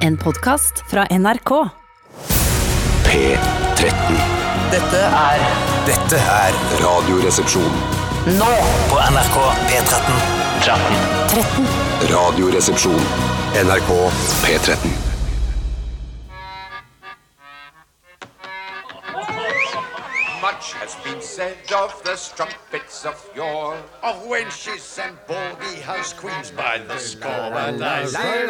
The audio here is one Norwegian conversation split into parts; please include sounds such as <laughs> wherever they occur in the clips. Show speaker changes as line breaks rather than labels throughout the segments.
En podkast fra NRK.
P13.
Dette er
Dette er Radioresepsjon.
nå på NRK P13. 13.
Radioresepsjon. NRK P13.
Much has been said of the strumpets of yore, of wenches and baldy house queens by the score. And I say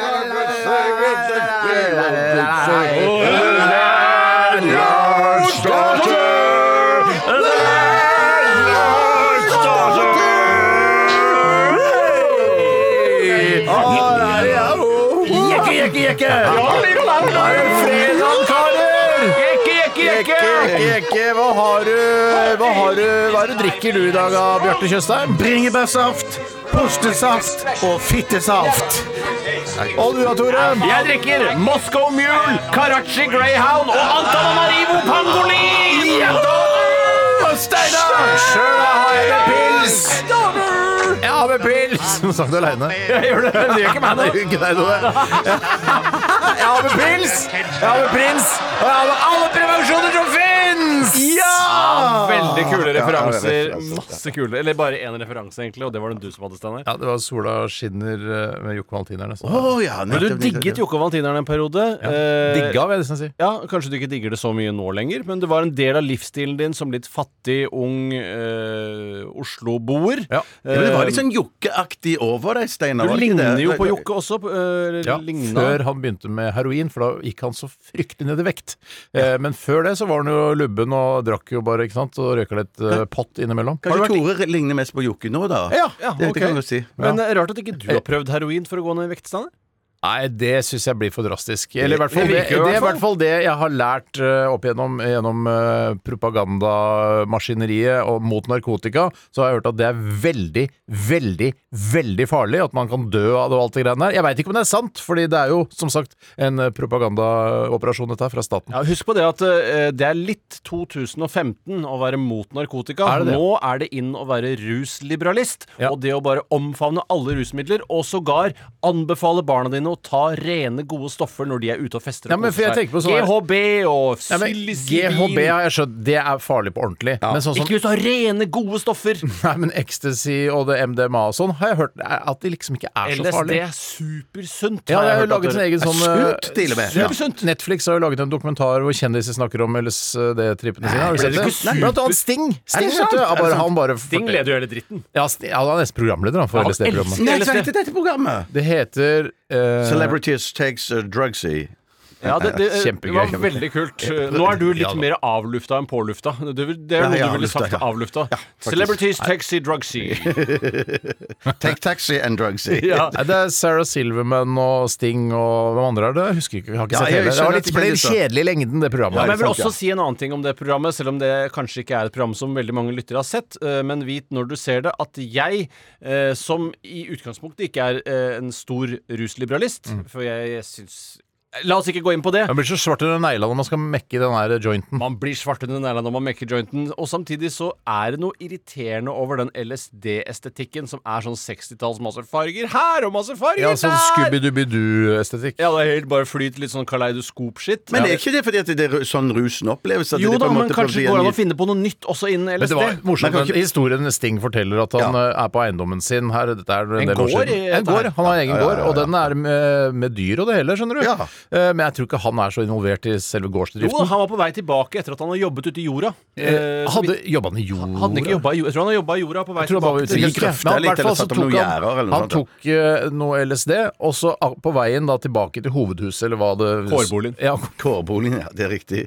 Hva har du, hva er det du drikker du i dag, da, Bjarte Tjøstheim?
Bringebærsaft, postesaft og fittesaft.
Og du da, Tore?
Jeg drikker Moscow Mule, Karachi Greyhound og Antananarivo Pangolin!
Steinar! Sjøl har jeg med pils! Jeg har med pils! Du sang det aleine. Jeg gjør det. Det gjør ikke meg noe. Ikke deg noe. Jeg har med pils, jeg har med prins, og jeg har med alle prevensjoner som fins! Ja!
Ah, Veldig kule
Ja, ja, det er altså.
referanser.
referanser, ja.
Masse kule. Eller bare én referanse, egentlig, og det var den du som hadde, Steinar.
Ja, det var Sola skinner eh, med Jokke Valentinerne. så-
Men du digget Jokke Valentineren en periode. Eh,
Digga, vil jeg nesten si.
Ja, Kanskje du ikke digger det så mye nå lenger, men det var en del av livsstilen din som litt fattig, ung eh, Oslo-boer.
Ja.
Eh,
Ja, men det var litt sånn jokkeaktig over deg, Steinar.
du
var det ikke
ligner
det?
jo på Jokke også. eh,
Ja,
ligna.
før han begynte med heroin, for da gikk han så fryktelig ned i vekt. Eh, men før det så var han jo lubben og drakk jo bare, ikke sant, og røyka litt eh, pott innimellom. Har
Kanskje
du vært-
Tore ligner mest på Jokke nå, da?
Ja, ja,
det,
ok.
det kan jeg godt si.
Men eh, rart at ikke du har prøvd heroin for å gå ned i vekt, Steinar.
Nei, det syns jeg blir for drastisk. Eller i hvert fall
Det
det,
virker
det,
jo i hvert
er i hvert fall det jeg har lært eh, opp gjennom, gjennom eh, propagandamaskineriet og mot narkotika, så har jeg hørt at det er veldig, veldig, veldig farlig. At man kan dø av det og alt det greiene der. Jeg veit ikke om det er sant, fordi det er jo som sagt en eh, propagandaoperasjon dette her fra staten.
Ja, husk på det at eh, det er litt 2015 å være mot narkotika.
Er det det?
Nå er det inn å være rusliberalist.
Ja.
Og det å bare omfavne alle rusmidler, og sågar anbefale barna dine å ta rene, gode stoffer når de er ute og fester.
Ja,
og
men for jeg
koser seg.
tenker på sånn her-
GHB og
Ja, men
psilocybin.
GHB har jeg skjønt, det er farlig på ordentlig. Men sånn som
Ikke hvis du har rene, gode
<laughs>
stoffer.
Nei, men ecstasy og det MDMA og sånn har jeg hørt er- at de liksom ikke er så
LSD
farlig.
er supersunt.
Ja,
har jeg
det har jo
hørt at
laget sin
det-
egen sånn
sunt, til og med.
eh, Supersunt. Netflix har jo laget en dokumentar hvor kjendiser snakker om LSD-trippene sine. Har du
ble
sett
det
det?
ikke super-
Blant annet Sting. Sting, vet du. Ja, bare, han bare
Altså, Sting leder jo hele dritten.
Ja, Sting, ja, han er nesten programleder han, for
Han
LSD-programmet.
elsker-
Nei, så heter dette programmet!
Det heter eh,
Celebrities takes uh, drugsy.
Ja, det, det, det
Kjempegøy,
var
kjempegøy.
veldig kult. Nå er du litt
Ja, da.
mer avlufta enn pålufta. Det, det er
Ja,
noe
ja,
du ville sagt
avlufta, ja.
avlufta.
Ja, faktisk.
Celebrities, taxi, drugsy.
Take taxi and drugsy.
<laughs> Ja.
Nei, det er Sarah Silverman og Sting og hvem andre er det? Jeg husker ikke. Jeg har ikke
Ja,
sett
jeg
hele. Det
skjønner
var
at
litt,
det
ble
kjennes, da.
kjedelig i lengden, det programmet.
Men jeg vil
Sant, ja.
også si en annen ting om det programmet, selv om det kanskje ikke er et program som veldig mange lyttere har sett. eh, Men vit når du ser det, at jeg, eh, som i utgangspunktet ikke er eh, en stor rusliberalist, for jeg, jeg syns La oss ikke gå inn på det.
Man blir så svart under negla når man skal mekke den her jointen.
Man blir svart under negla når man mekker jointen. Og samtidig så er det noe irriterende over den LSD-estetikken som er sånn 60-talls masse farger her og masse farger
Ja, sånn
der!
Scooby-Dooby-Doo-estetikk.
Ja, det er helt bare flyt litt sånn kaleidoskop-shit.
Men
Ja.
er ikke det fordi at det er sånn rusen oppleves? At
Jo
det på
da,
en
men
måte
kanskje det
blir
går
en
an
ny-
å finne på noe nytt også innen
Men
LSD.
det var morsomt.
Man kan
Den
ikke-
historien Sting forteller at han
Ja.
eh, er på eiendommen sin her. Dette er
En
en, del år
gård
siden.
i-
En gård. Han har egen
ja, ja, ja,
gård, og den er med, med dyr og det hele, skjønner du.
Ja.
Eh, Men jeg tror ikke han er så involvert i selve
Jo da,
gårdsdriften.
han var på vei tilbake etter at han har jobbet ute i jorda. Eh,
Eh,
så
Hadde
vi-
jobba han i jorda?
hadde han ikke jobbet i jorda. Jeg tror han har jobba i jorda på vei
Jeg tror han
tilbake.
bare var ute og gikk. Men
Sikkert
han,
grøfta litt,
i hvert fall
eller
så
satt opp
tok
noen
han,
gjerder eller noe
han
sånt, ja.
tok eh, noe LSD, og så ah, på veien da tilbake til hovedhuset, eller hva det
Kårboligen.
Ja, <laughs>
Kårboligen, ja. Det er riktig.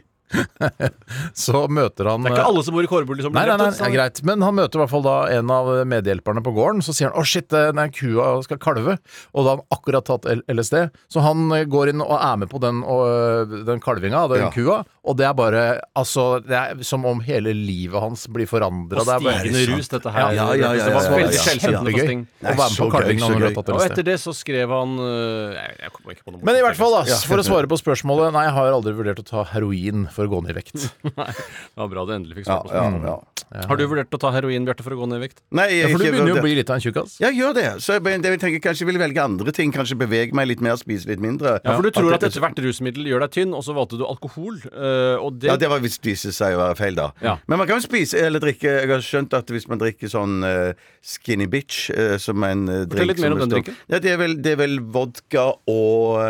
så møter han eh,
Det er ikke alle som bor i Kårbol som blir
Nei, nei, nei,
drept.
det er greit. Men han møter i hvert fall da en av medhjelperne på gården. Så sier han 'Å, shit, den der kua skal kalve', og da har han akkurat tatt L- LSD. Så han eh, går inn og er med på den, og, eh, den kalvinga av den
Ja.
kua, og det er bare Altså, det er som om hele livet hans blir forandra.
Og stigende rus, dette her.
Ja, ja, ja,
det var
ja, ja,
veldig
ja.
skjellsettende for
Kjempegøy
Sting.
å
Nei,
være med på
så gøy,
kalvinga
så
når du har
gøy.
tatt
Og
LSD.
etter det så skrev han øh, jeg, jeg kommer ikke på noe
Men i hvert fall,
da
da, for å svare på spørsmålet Nei, jeg har aldri vurdert å ta heroin, for å gå ned i vekt.
<laughs> Nei, det var bra du endelig fikk
Ja,
svart på
ja,
det.
ja.
Har du vurdert å ta heroin, Bjarte, Mm. for å gå ned i vekt?
Nei, jeg,
Ja, for du
ikke-
begynner jo å bli litt av en tjukkas.
Ja, gjør det. Så jeg, jeg tenker kanskje jeg vil velge andre ting. Kanskje bevege meg litt mer, spise litt mindre.
Ja, for du tror at
det-
ethvert rusmiddel gjør deg tynn, og så valgte du alkohol. eh, og det,
Ja, det var visst viste seg å være feil, da.
Ja.
Men man kan jo spise eller drikke Jeg har skjønt at hvis man drikker sånn eh, Skinny Bitch, eh, som er en eh, drink
litt mer
som
om den
består-
drinken.
Ja, det er vel, det er vel vodka og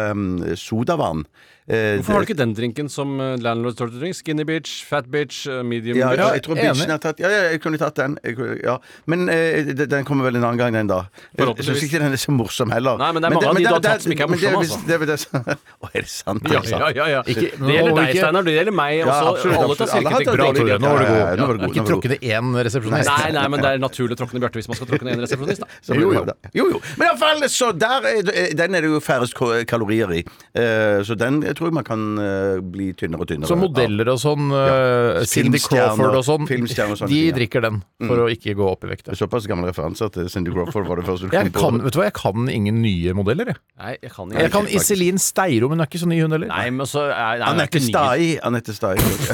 eh, sodavann. Eh,
Hvorfor har du ikke den drinken som eh, Landlord Torture Drink? Skinny bitch, fat bitch, eh, medium
ja,
bitch.
ja, jeg tror
enig.
bitchen har tatt Ja, ja, jeg kunne tatt den. Jeg, kunne- ja. Men eh, de- den kommer vel en annen gang, den, da. Jeg, jeg syns
Forhåpentligvis.
ikke den er så morsom heller.
Nei, men det er mange av de du har tatt som ikke er
men det
morsomme,
visst-
altså.
Det, er vel det, som- <laughs> Å, er det sant? altså?
Ja,
Er det sant?
ja, ja, ja.
Ikke-
det gjelder
nå må vi
deg,
ikke-
Steinar. Det gjelder meg også. Alle
absolutt,
tar
absolutt. Alle har tatt
silketeknikk.
Bra,
dårlig
Tore. Nå var du
Ja, ja,
god.
ja, nå var du god, nå
Ikke
var du
tråkke ned én resepsjonist.
Nei, nei, men det er naturlig å tråkke ned Bjarte hvis man skal tråkke ned en resepsjonist. da.
Så
Jo,
blir
jo.
det bra. jo, jo. Men iallfall, så der er, det- eh, den er det jo færrest ko- kalorier i. Eh, så den jeg tror jeg man kan eh, bli tynnere og tynnere.
Så modeller og sånn, eh, Cindy
Filmstjerner-
Crawford og sånn,
filmstjerner og Mm. sånne
de
ting, ja.
drikker den for å ikke gå opp i vekt.
av. Såpass gammel referanse at eh, Cindy Crawford var det første du kom
Jeg
på.
kan, vet du hva, jeg kan ingen nye modeller, jeg.
Nei, jeg kan
Jeg
ikke.
kan Iselin Steiro, men hun er ikke så ny, hun heller.
Nei, men så er, nei, det er
Anette
ikke nyhet.
Stai. Anette Stai. <laughs>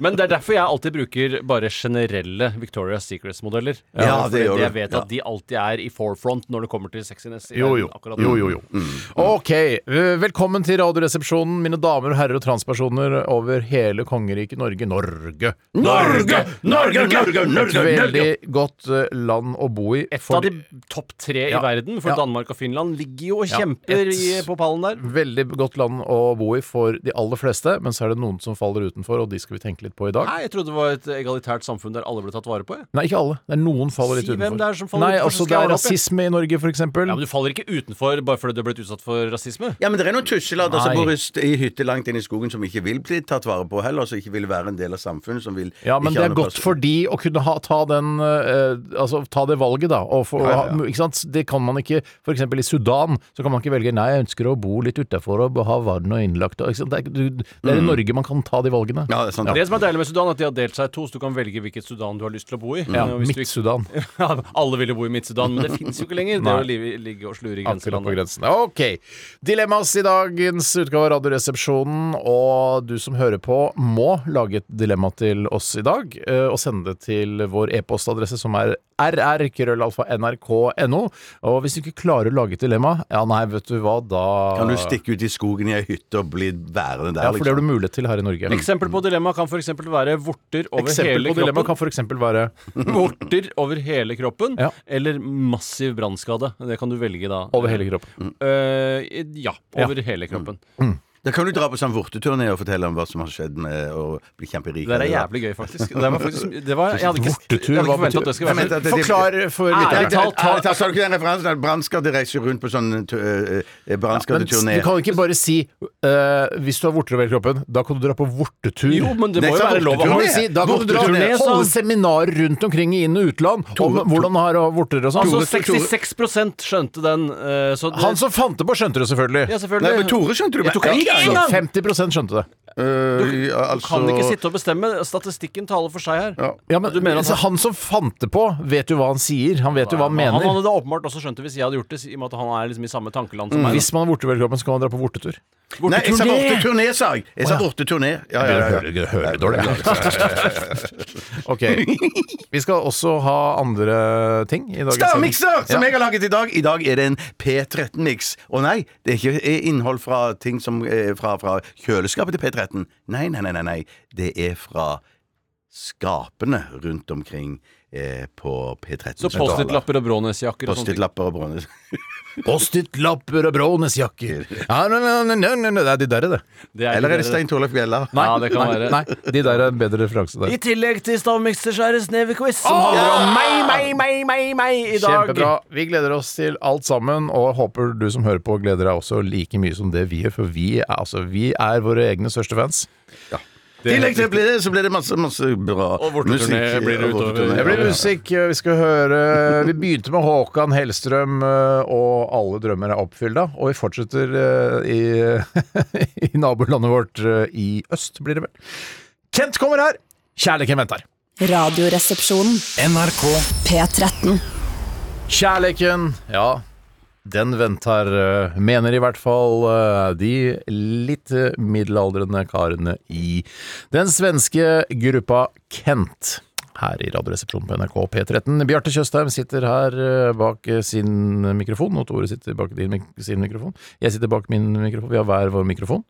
Men det er derfor jeg alltid bruker bare generelle Victoria's Secrets-modeller.
Ja, det
Fordi
gjør du.
Jeg vet at de alltid er i forefront når det kommer til sexiness. i
Jo,
verden
jo.
akkurat nå.
jo, jo, jo.
Mm.
Ok, eh, velkommen til Radioresepsjonen, mine damer og herrer og transpersoner over hele kongeriket Norge. Norge!
Norge! Norge! Norge!
Et veldig godt eh, land å bo i.
Et
for-
av de topp tre
Ja.
i verden, for
Ja.
Danmark og Finland ligger jo og
Ja.
kjemper i,
Et-
på pallen der.
Veldig godt land å bo i for de aller fleste, men så er det noen som faller utenfor, og de skal vi tenke litt på i dag.
Nei, jeg trodde det var et egalitært samfunn der alle ble tatt vare på. jeg.
Nei, ikke alle. Det er noen faller litt
Si
utenfor.
hvem det er som faller
Nei,
utenfor, så
altså
skal
det
jeg
er
ordne opp, jeg.
rasisme i Norge, for eksempel.
Ja, Men du faller ikke utenfor bare fordi du har blitt utsatt for rasisme.
Ja, men det er noen tusselada som
Nei.
bor i st- i hytte langt inne i skogen, som ikke vil bli tatt vare på heller, som ikke vil være en del av samfunnet, som vil
Ja, men
ikke
det
ha
er
noen
godt
plass-
for de å kunne ha, ta den eh, Altså ta det valget, da. Og få-
Ja, ja, ja.
Ikke sant? Det kan man ikke For eksempel i Sudan så kan man ikke velge Nei, jeg ønsker å bo litt utafor og ha vann og innlagt og- ikke sant? Det er, du, det
Mm.
er i Norge man kan ta de valgene.
Ja, det er sant.
Det som er deilig med Sudan, er at de har delt seg i to, så du kan velge hvilket Sudan du har lyst til å bo i.
Ja,
Og hvis du ikke-
Midt-Sudan.
<laughs> Ja, alle ville bo i Midt-Sudan, men det fins jo ikke lenger. Det å li- ligge og slure i
Akkurat
grenselandet.
på grensen. Ok. Dilemmas i dagens utgave av Radioresepsjonen. Og du som hører på, må lage et dilemma til oss i dag. eh, Og sende det til vår e-postadresse, som er rr.krøllalfa.nrk.no. Og hvis du ikke klarer å lage et dilemma, ja nei, vet du hva, da
Kan du stikke ut i skogen i ei hytte og bli værende der, liksom?
Ja, for det har du mulighet til her i Norge.
Eksempel på dilemma kan f.eks. være vorter over
Eksempel
hele
på dilemma
kroppen.
kan f.eks. være
<clears throat> Vorter over hele kroppen
Ja.
eller massiv brannskade. Det kan du velge da.
over hele kroppen. Mm.
Eh, ja, over hele kroppen.
Da kan du dra på sånn vorteturné og fortelle om hva som har skjedd med å bli kjemperik.
Det der er jævlig gøy, faktisk. Det var faktisk det var, jeg hadde ikke, jeg
Vortetur,
hadde ikke
hva
forventet
betyr-
at det skulle
Nei,
være
men
så-
det- det-
Forklar for
Ærlig talt,
lytterne.
altså-
Ærlig talt, Sa du ikke den referansen? at Brannskadde reiser rundt på sånn tu- eh, eh,
Men
brannskaddeturné.
du kan ikke bare si eh, hvis du har vorter over hele kroppen, da kan du dra på vortetur.
Jo, men det
Nei,
må jo
sa
være lov å
Hva
ha
må
vorteturné.
du si? Da kan du dra
Vorteturné, sa han.
holde seminarer rundt omkring i inn- og utland om hvordan har vorter og sånn.
Altså,
Tore-
66 skjønte den. eh, så det,
Tore- Han som fant det på, skjønte det selvfølgelig.
Ja, selvfølgelig.
Nei, men Tore skjønte du
Jeg tok ikke en
Så
gang!
50 skjønte det.
Eh, ja, altså,
Kan ikke sitte og bestemme. Statistikken taler for seg her.
Ja, men,
Du mener at
altså, han som fant det på, vet jo hva han sier. Han vet jo hva han
Han
mener.
hadde da åpenbart også skjønt det hvis jeg hadde gjort det, i og med at han er liksom i samme tankeland som meg.
Mm. Hvis man har vorter over hele kroppen, så kan man dra på vortetur.
Nei, jeg sa
Vorteturné!
vorteturné, sa jeg. Jeg
Å,
sa
ja.
vorteturné. Ja, ja, ja, ja.
hører <laughs> Ok. Vi skal også ha andre ting i dagens
Stavmikser, som
Ja.
jeg har laget i dag. I dag er det en P13-miks. Å nei, det er ikke eh, innhold fra ting som er fra, fra kjøleskapet til P13. Nei, nei, nei, nei, nei. Det er fra skapene rundt omkring eh, på P13.
Så Post-It-lapper og Brånes-jakker og sånne ting.
Post-it-lapper og brånes.
Post-it-lapper og brånesjakker. Ja, nei, nei, nei, nei, nei, Det er de der, det.
Det
Eller er det Stein Torleif Bjella?
Nei, ja, det kan
Nei,
være.
nei, de der er en bedre referanse der.
I tillegg til stavmikser så er det Snevequiz, som handler om meg, meg, meg, meg, meg i dag.
Kjempebra. Vi gleder oss til alt sammen, og håper du som hører på, gleder deg også like mye som det vi gjør, for vi er, altså, vi er våre egne største fans.
I tillegg til det så blir det masse, masse bra
Og vorteturné blir det
og
utover.
vorteturné.
Det blir musikk. Vi skal høre Vi begynte med Håkan Hellstrøm, eh, og alle drømmer er oppfylla. Og vi fortsetter eh, i, <laughs> i nabolandet vårt eh, i øst, blir det vel. Kent kommer her! Kjærligheten venter.
Radioresepsjonen.
NRK
P13.
Kjærligheten, ja. Den venter, eh, mener i hvert fall eh, de litt eh, middelaldrende karene i den svenske gruppa Kent. Her i Radioresepsjonen på NRK P13. Bjarte Tjøstheim sitter her eh, bak eh, sin mikrofon, og Tore sitter bak din, mik- sin mikrofon. Jeg sitter bak min mikrofon. Vi har hver vår mikrofon.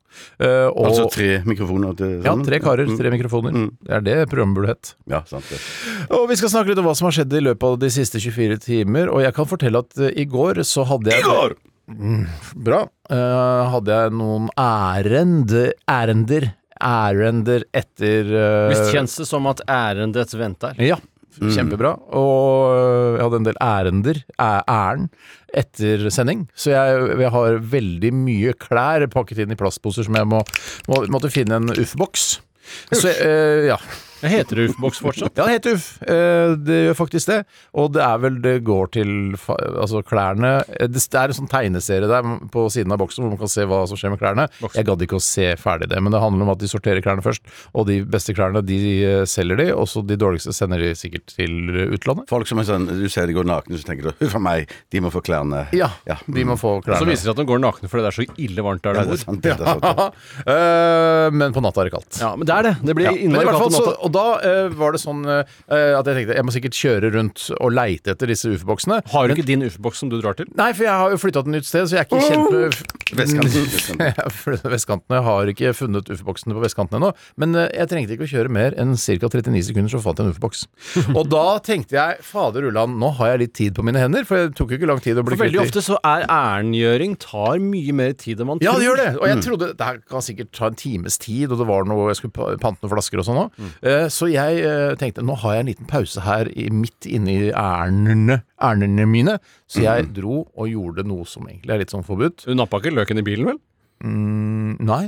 Eh, og,
Altså tre Mm, mikrofoner til
ja,
sammen?
tre karer, tre mikrofoner. Det er det programmet burde hett.
Ja, sant det.
Og vi skal snakke litt om hva som har skjedd i løpet av de siste 24 timer, og jeg kan fortelle at eh, i går så hadde jeg Bra. Eh, hadde jeg noen ærend ærender ærender etter eh,
Visst kjennes det som at ærendet venter.
Ja. Kjempebra. Og eh, jeg hadde en del ærender, æ- ærend, etter sending. Så jeg, jeg har veldig mye klær pakket inn i plastposer som jeg må, må, måtte finne en UF-boks. Så jeg, eh, ja.
Heter det UFO-boks
<laughs>
fortsatt?
Ja, det heter UFF. Eh, Det gjør faktisk det. Og det er vel det går til fa- altså klærne Eh, Det det er en sånn tegneserie der på siden av boksen hvor man kan se hva som skjer med klærne. Jeg gadd ikke å se ferdig det, men det handler om at de sorterer klærne først. Og de beste klærne, de eh, selger de, og så de dårligste sender de sikkert til utlandet.
Folk som er sånn Du ser de går nakne, så tenker du Huff a meg, de må få klærne
Ja, de må få klærne.
Så viser det at de går nakne fordi det er så ille varmt der
Ja,
de
det
bor.
er sant. Det er sant. det.
<laughs> Eh, men på natta er det kaldt.
Ja, men det er det. Det blir
Ja. Men i
innmari
hvert fall
kaldt om
så,
natta.
og da eh, var det sånn eh, at jeg tenkte jeg må sikkert kjøre rundt og leite etter disse UFO-boksene.
Har du
Men-
ikke din UFO-boks som du drar til?
Nei, for jeg har jo flytta til et nytt sted, så jeg er ikke kjent med
Mm.
Vestkanten,
<laughs>
vestkanten.
Jeg har flyttet til vestkanten. Jeg har ikke funnet UFO-boksen på vestkanten ennå. Men eh, jeg trengte ikke å kjøre mer enn ca. 39 sekunder, så fant jeg en UFO-boks.
<laughs>
Og da tenkte jeg fader ulland, nå har jeg litt tid på mine hender, for det tok jo ikke lang tid å bli
For veldig
kvitt de.
ofte så er ærengjøring tar mye mer tid enn man
Ja,
tror.
det gjør det!
Mm.
Og jeg trodde det her kan sikkert ta en times tid, og det var noe jeg skulle pa- pante noen flasker og sånn òg.
Mm.
Så jeg eh, tenkte nå har jeg en liten pause her i, midt inni ærendene ærendene mine,
Mm.
så jeg dro og gjorde noe som egentlig er litt sånn forbudt.
Du nappa ikke løken i bilen, vel?
Nei.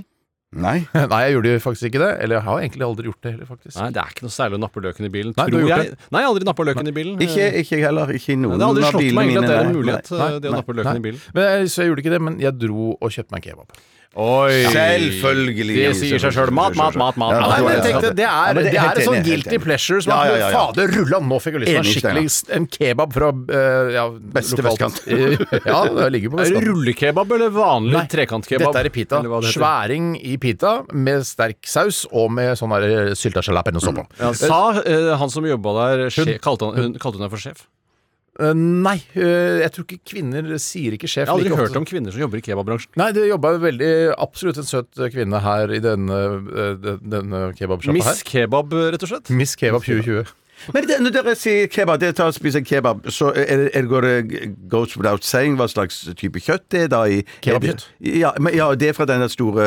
Nei.
<laughs> Nei, jeg gjorde faktisk ikke det. Eller jeg har egentlig aldri gjort det heller, faktisk.
Nei, det er ikke noe særlig å nappe løken i bilen.
Nei,
tror
du har gjort
jeg. Nei, jeg har aldri nappa løken i bilen.
Ikke ikke jeg heller. Ikke i
Nei,
noen
det har aldri
av
slått
bilene
meg egentlig at
mine.
det er en
nei.
mulighet,
Nei.
eh, det å nappe løken i bilen.
Men jeg, så jeg gjorde ikke det, men jeg dro og kjøpte meg en kebab.
Oi!
Selvfølgelig.
Det sier seg sjøl. Mat, mat, mat, mat.
Ja,
Nei,
mat.
men jeg tenkte, Det
Ja,
er,
men det er
det
helt
er et
enig,
sånn
helt
guilty
enig.
pleasure som
Ja,
er
ja, ja, ja.
Fader, rulla, nå fikk jeg lyst på en
Enig, Steinar.
skikkelig en kebab fra eh, ja,
Beste
lokalt-
vestkant.
<laughs> ja, det ligger på
Er det
vestkanten.
rullekebab eller vanlig trekantkebab?
Dette er i pita.
Eller hva det heter.
Sværing i pita med sterk saus og med sånn der, eh, syltasjalapeno soppå.
Ja, sa eh, han som jobba der, sjef, kalte, han, hun, kalte hun deg for sjef?
Eh, nei, eh, jeg tror ikke kvinner sier ikke sjef
Jeg har aldri
like ofte
hørt om kvinner som jobber i kebabbransjen.
Nei, det jobba veldig absolutt en søt kvinne her i denne, eh, den- denne kebabsjappa her. Mm.
Miss Kebab, rett og slett.
Miss Kebab 2020.
Men det, når dere sier kebab, det tar og spiser kebab, så er det, er det går det goes without saying hva slags type kjøtt det er da i
Kebabkjøtt.
Ja, men, ja, det er fra den der store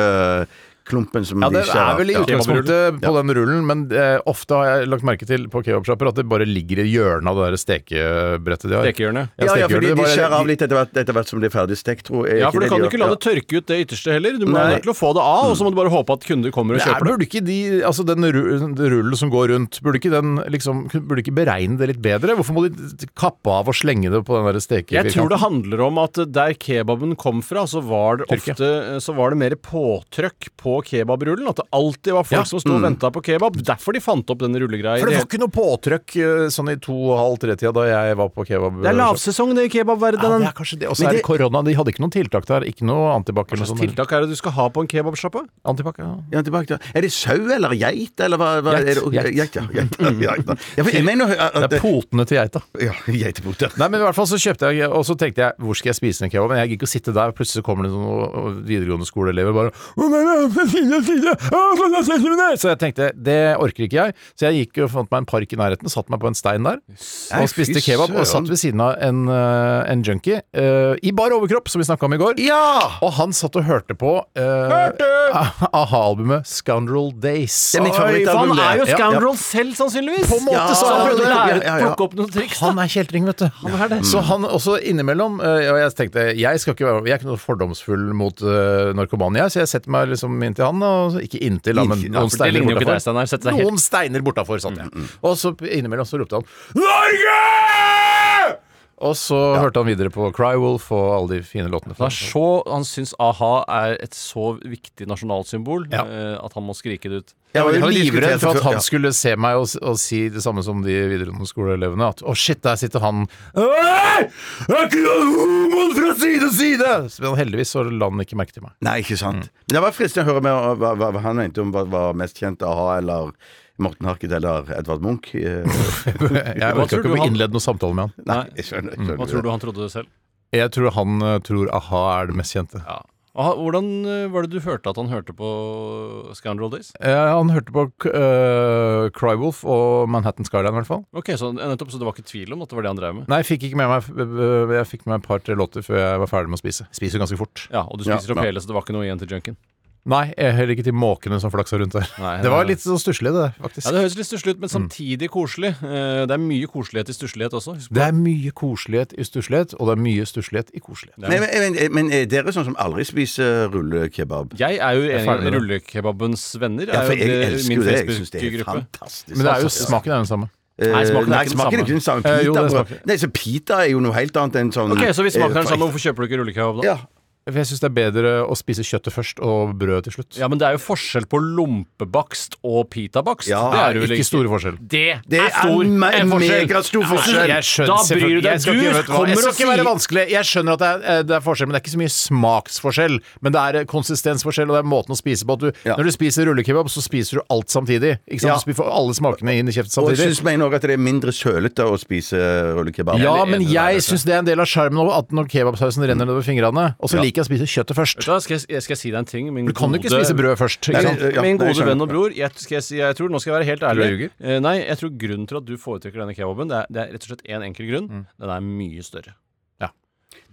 klumpen som
Ja,
de
det er vel i
av.
utgangspunktet på den rullen, men eh, ofte har jeg lagt merke til på kebabsjapper at det bare ligger i hjørnet av det der stekebrettet de har.
Stekehjørnet.
Ja,
Ja, ja,
stekehjørnet,
fordi
det
de
bare-
skjærer av litt etter hvert, etter hvert som det er ferdig stekt, tror jeg.
Ja, for du kan
de
jo ikke la
gjør.
det tørke ut det ytterste heller. Du må
Nei.
være nødt til å få det av, og så må du bare håpe at kunder kommer og
Nei,
kjøper det.
burde ikke de, altså den ru- rullen som går rundt, burde ikke den liksom, burde ikke beregne det litt bedre? Hvorfor må de kappe av og slenge det på den der
Jeg
stekefirkanten?
tror det handler om at der kebaben kom fra, så var det
Tyrkia.
ofte så var det mer påtrykk på kebabrullen. At det alltid var folk
Ja,
som sto og venta på kebab. Derfor de fant opp denne rullegreia. i
For det
det
var ikke noe påtrykk eh, sånn i to og halv tre-tida da jeg var på kebab.
hele- Det er lavsesong det i
Ja,
kebabverdenen.
det er kanskje det. Og så er det korona. De hadde ikke noen tiltak der. Ikke noe antibac
Hva
eller noe
slags
sånt.
tiltak er det du skal ha på en kebabsjappe?
Antibac, ja.
Ja, tilbake til Er det sau eller geit, eller hva, hva
Geit,
er det?
geit.
Geit, ja. <laughs> Geit, ja, geit, ja. ja for jeg mener jo at
Det er potene til geita.
Ja, geitepoter.
Nei, men i hvert fall så kjøpte jeg, og så tenkte jeg hvor skal jeg spise den kebaben? Jeg gikk ikke å sitte der, og plutselig så kommer det noen og- og videregående skoleelever bare «Å, nei, nei, det er fine, fine. Å, sånn, sånn, sånn, sånn». Så jeg tenkte det orker ikke jeg, så jeg gikk og fant meg en park i nærheten, satte meg på en stein der
Nei,
og spiste
fy
kebab og
søren.
satt ved siden av en, eh, en junkie eh, i bar overkropp, som vi snakka om i går.
Ja!
Og han satt og hørte på uh, <laughs> aha-albumet Scoundrel Days.
Det er mitt
Han
favorittalbum, det.
er jo
Ja, ja.
scoundrel selv, sannsynligvis! På en
måte så
han
er
prøvde å
det-
lære,
ja, ja, ja.
plukke opp noen triks.
Han er kjeltring, vet du. Så han også innimellom eh, Og jeg tenkte, jeg, skal ikke være, jeg er ikke noe fordomsfull mot eh, narkomane, jeg, så jeg setter meg liksom inntil han, og så- ikke inntil han, men
Inntil, ja,
noen
for det ligner
steiner
jo ikke deg,
bortafor.
Steinar. Sett deg helt- Mm,
Noen steiner bortafor, satt jeg. Og så innimellom så ropte han Norge! Og så hørte han videre på Cry Wolf og alle de fine låtene.
Det er så, han syns a-ha er et så viktig nasjonalsymbol
Ja.
eh, at han må skrike det ut.
Jeg var
Jeg
jo
var livredd
livredd
for at
før-
han skulle se meg og, s- og si det samme som de videregående skoleelevene. At 'å, shit, der sitter han Hei! Er ikke han homoen fra side til side?' Så- Men heldigvis så la han ikke merke <laughs> til meg.
Nei, ikke sant. Men det var fristende å høre med, hva, hva, hva han mente om hva var mest kjent av ha eller Morten Harket eller Edvard Munch. Eh,
Jeg
Hva tror
orka ikke
du
å
han-
innlede noe samtale med han.
Nei, jeg skjønner. Jeg skjønner
Hva tror du han trodde selv?
Jeg tror han eh, tror a-ha er det mest kjente.
Ah, hvordan eh, var det du hørte at han hørte på Scoundrel Days?
Eh, han hørte på uh, Crywolf og Manhattan Skyline, i hvert fall.
Ok, så, nettopp, så det var ikke tvil om at det var det han drev med?
Nei, jeg fikk ikke med meg eh, Jeg fikk med meg et par-tre låter før jeg var ferdig med å spise. Spiser jo ganske fort.
Ja, Og du
Ja,
spiser opp
nei.
hele, så det var ikke noe igjen til junken?
Nei, eh, heller ikke til måkene som flaksa rundt der.
Nei,
det var
nei, nei.
litt sånn stusslig, det der, faktisk.
Ja, Det høres litt stusslig ut, men
Mm.
samtidig koselig. Eh, Det er mye koselighet i stusslighet også. Husk på.
Det er mye koselighet i stusslighet, og det er mye stusslighet i koselighet.
Men, men, men, men er dere sånn som aldri spiser rullekebab?
Jeg er jo
er
enig
ferdig
med
med det.
rullekebabens venner.
Ja, for
er jo
jeg
det-
elsker
min
jo det. Jeg syns det er
Facebook-gruppe.
fantastisk.
Men det er jo
altså.
smaken er den samme.
Eh,
Nei, smaken er ikke den
smaken
samme.
er ikke den samme.
Eh, jo, det
Pitabrød-
smaker-
Nei, så pita er jo noe helt annet enn sånn
Ok, Så hvis smaken er den
eh,
samme, hvorfor kjøper du ikke rullekebab da?
Ja.
For jeg syns det er bedre å spise kjøttet først og brødet til slutt.
Ja, men det er jo forskjell på lompebakst og pitabakst.
Ja,
det er det vel
Ikke
ikke.
store forskjell.
Det
Det
er
er
stor
en me-
en forskjell.
megastor forskjell.
Jeg skjønner
Da bryr du
selvfølgelig-
deg.
jeg skal ikke-
Du
vet du hva,
kommer
Jeg skal
og
ikke være
sier-
vanskelig. Jeg skjønner at det er, eh, det er forskjell, men det er ikke så mye smaksforskjell. Men det er eh, konsistensforskjell, og det er måten å spise på. At du,
Ja.
Når du spiser rullekebab, så spiser du alt samtidig. Ikke sant?
Ja.
Du spiser- får alle smakene inn i kjeften
Og
samtidig.
jeg syns meg nok at det er mindre sølete å spise rullekebab.
Ja, men
enig med deg,
jeg syns det er en del av sjarmen over at når kebabsausen renner nedover fingrene, og så liker jeg å spise kjøttet
Vet
først.
du hva, skal jeg, jeg skal si deg en ting. Min
Du kan jo ikke spise brød først. Ikke
Nei,
sant?
Ja,
Min
det
gode
skjønner
venn og
jeg.
bror, jeg, skal jeg, si, jeg tror, nå skal jeg være helt ærlig.
jeg ljuger?
Eh, Nei, jeg tror grunnen til at du foretrekker denne kebaben, det er, det er rett og slett én enkel grunn. Den er mye større.
Mm. Ja.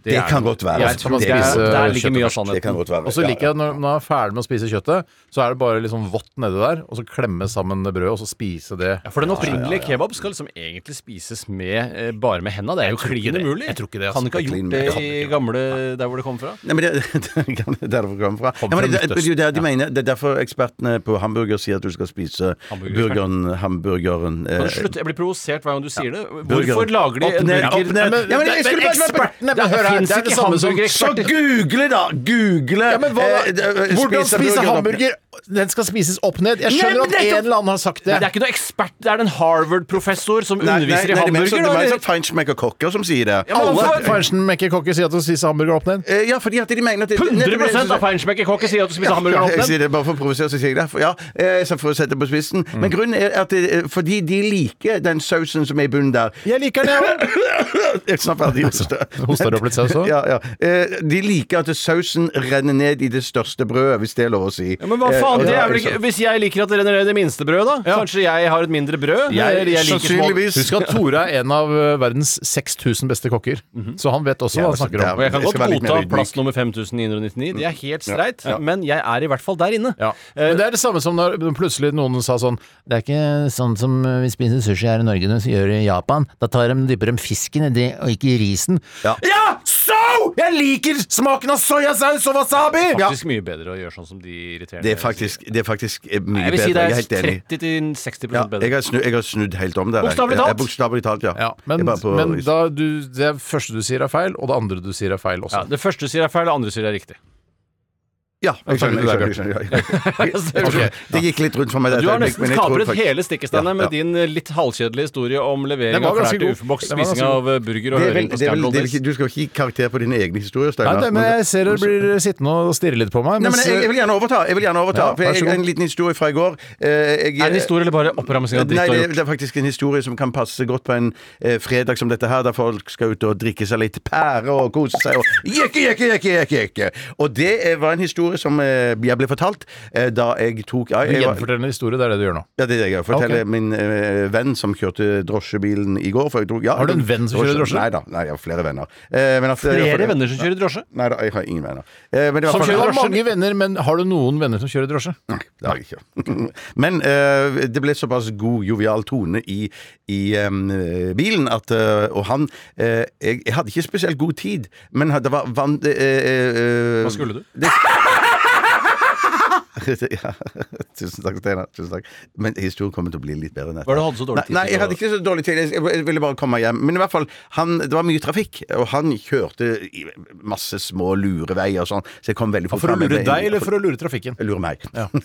Det
er
kan
den.
godt være.
Jeg
Altså,
tror
man
det
skal
er,
spise
der ligger mye av
kjøttet
Det kan
sannheten.
godt være.
Og så
Ja,
liker jeg når når man er ferdig med å spise kjøttet, så er det bare liksom vått nedi der, og så klemme sammen det brødet, og så spise det.
Ja, for den opprinnelige kebab skal liksom egentlig spises med, eh, bare med henda. Det er jo klin
det.
umulig.
Jeg tror ikke det,
Kan
altså.
ikke ha
Klin
gjort
umulig.
det
Kan
i
ikke.
gamle der hvor det kom fra.
Nei, men det, <laughs> det, kan- det er der det kommer fra.
Kom
Ja, men
fra
det, det, det, er jo
Midtøsten.
der de mener, det er derfor ekspertene på hamburger sier at du skal spise burgeren, hamburgeren eh,
Kan du slutte? Jeg blir provosert hver gang du sier det.
burger.
Hvorfor lager de
Opp
en
ned,
burger
opp ned. Ja, men-
Ja, men jeg skulle bare- Det
Det
hør her,
fins
det er det
ikke
samme som-
Så
hamburgereksperter.
google, da! Google!
Ja, men hva
eh,
da?
eh,
Hvordan spise
burgeren opp ned.
hamburger? Den skal spises opp ned. Jeg skjønner
Nei,
at
men det er
en
ikke-
eller annen har sagt
Det
det.
er ikke noe ekspert, det er en Harvard-professor som
Nei, nei,
underviser i
nei, det er mer
hamburger.
sånn- Det var jo
eller?
sånn feinschmecker-kokker som sier det.
men altså-
Alle
hvorfor-
Feinschmecker-kokker sier at du spiser hamburger opp ned.
Eh, Ja, fordi at de mener at det-
100 av feinschmeckerkokker sier at du spiser hamburger
Ja, jeg
åpen.
sier det bare for å provosere, så sier jeg det. For, ja, eh, så for å sette det på spissen.
Mm.
Men grunnen er at det, eh, fordi de liker den sausen som er i
<laughs>
bunnen der.
Jeg liker den, jeg òg.
Jeg er snart ferdig å hoste.
Hoster du opp litt saus òg?
Ja, ja. Eh, De liker at sausen renner ned i det største brødet, hvis det er lov å si.
Men hva faen,
Eh,
det
ja,
er vel ikke Hvis jeg liker at det renner ned det minste brødet, da? Kanskje jeg har et mindre brød?
Jeg-
eller jeg liker små-
sannsynligvis.
Husk at Tore er en av eh, verdens 6000 beste kokker, Mhm. så han vet også hva han
altså,
snakker om.
Og jeg kan
Jeg skal være
godt
litt mer
godta
ydmyk.
plass nummer 5999. Det er helt streit,
Ja.
men jeg er i hvert fall der inne.
Eh,
Ja. Men det er det samme som når plutselig noen sa sånn Det er ikke sånn som vi spiser sushi her i Norge, når vi gjør det i Japan. Da tar de, dypper de fisken i det, og ikke i risen. Ja. so! Jeg liker smaken av soyasaus og wasabi! Ja.
Faktisk mye bedre å gjøre sånn som de irriterende
Det er faktisk, det er faktisk eh, mye
Jeg vil si det
bedre. Jeg er
er
helt enig.
30-60
Ja,
bedre.
jeg, har snudd, jeg har snudd helt om der. jeg.
Bokstavelig
Eh,
talt.
Bokstavelig talt, ja.
Ja, men
Jeg er bare på-
men da du, det første du sier er feil, og det andre du sier er feil
Ja,
også.
det første du sier er feil, det andre du sier er riktig.
Ja, jeg skjønner.
takk
Jeg skjønner, jeg skjønner, ja.
Ok.
Det gikk litt rundt for meg. dette
Du har
øyeblikk,
nesten
men jeg tror
kapret
faktisk-
hele stikkesteinen
Ja,
med
ja.
din eh, litt halvkjedelige historie om levering
Den var
av klær
ganske
til
god.
ufo-boks,
Den var
spising
ganske
av eh, burger og
Det er vel,
høring på
det er vel,
Scandal
det er vel
Days.
ikke, du skal jo ikke gi karakter på dine egne historier,
Nei,
Steinar.
det, men jeg ser dere blir sittende og stirre litt på meg.
Nei, men
mens-
jeg, jeg vil gjerne overta. Jeg vil gjerne overta
Ja,
for
vær så
jeg,
god.
En liten historie fra i går. Eh,
Er
jeg-
det en historie eller bare oppramsing av dritt du har
Nei, det,
gjort?
det er faktisk en historie som kan passe godt på en eh, fredag som dette her, der folk skal ut og drikke seg litt pære og kose seg og jekke, jekke, jekke, jekke, jekke. Og det eh, var en historie som eh, jeg ble fortalt eh, da jeg tok
Du
jeg, var-
gjenforteller en historie, det er det du gjør nå.
ja, det er det jeg gjør. Fortelle
Ok.
min eh, venn som kjørte drosjebilen i går. For jeg tok, ja,
Har du en venn som kjører drosje?
Nei da. Nei, jeg har flere venner. Eh, men at-
Flere venner som kjører drosje?
Nei da, jeg har ingen venner. Eh, men det var
Som
for-
kjører mange venner, men har du noen venner som kjører drosje?
Nei, det har jeg ikke. <laughs> Men eh, det ble såpass god, jovial tone i, i eh, bilen at eh, Og han eh, jeg, jeg hadde ikke spesielt god tid, men det <laughs> var van, eh, eh, eh,
Hva skulle du?
ja. Tusen takk, Steinar. Tusen takk. Men historien kommer til å bli litt bedre enn dette.
Hva er det du hadde så dårlig tid
nei, nei,
til
jeg
å-
hadde ikke så dårlig tid. Jeg ville bare komme meg hjem. Men i hvert fall, han, det var mye trafikk, og han kjørte i masse små lureveier og sånn, så jeg kom veldig fort
For å
fram. Jeg
lure
ble-
deg, eller for å lure trafikken?
Lurer meg. <laughs>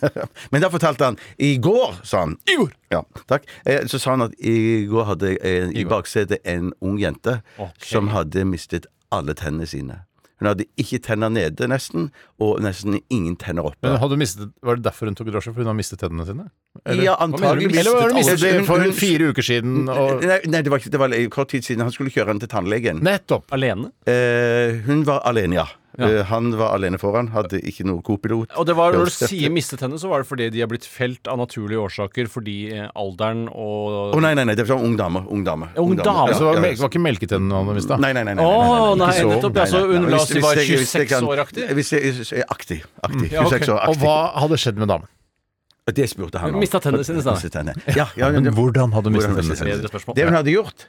Men da fortalte han I går, sa han. I går! Ja, takk. Eh, Så sa han at i går hadde eh, i baksetet en ung jente som hadde mistet alle tennene sine. Hun hadde ikke tenner nede, nesten, og nesten ingen tenner oppe.
Men hadde du mistet, Var det derfor hun tok drosje? For hun har mistet tennene sine?
Ja,
Hva mener du?
antagelig
Eller var det
mistet
mistet
alle-
det for
Hun-
fire uker siden? Og...
Nei, nei, det var, ikke- det var kort tid siden. Han skulle kjøre henne til tannlegen.
Nettopp.
Alene?
Eh, hun var alene, ja. Eh, han var alene foran, hadde ikke noe kopilot.
Og det var Når du sier mistet henne, så var det fordi de har blitt felt av naturlige årsaker fordi eh, alderen og
Å nei, nei, nei, det var ung dame. Ung dame.
Ja, ung dame.
Altså, det var,
Ja, ja.
mel- var ikke melketennene han hadde mista?
Nei, nei, nei. nei,
Å,
nei,
nei,
ikke så.
nettopp, ja, så hun
Nei, nei,
la oss si
hvis-
var
hvis jeg- hvis jeg
26
kan-
år-aktig?
Hvis jeg- Aktig. aktig
Ja, ok.
26 år
Og
aktig.
hva hadde skjedd med damen?
Og Det spurte han
Hun mistet tennene sine, sa han.
Mistet tennene. Ja, ja, ja,
Men
<laughs>
det-
hvordan hadde hun mistet
hvordan
tennene
sine? Bedre spørsmål.
Det hun hadde gjort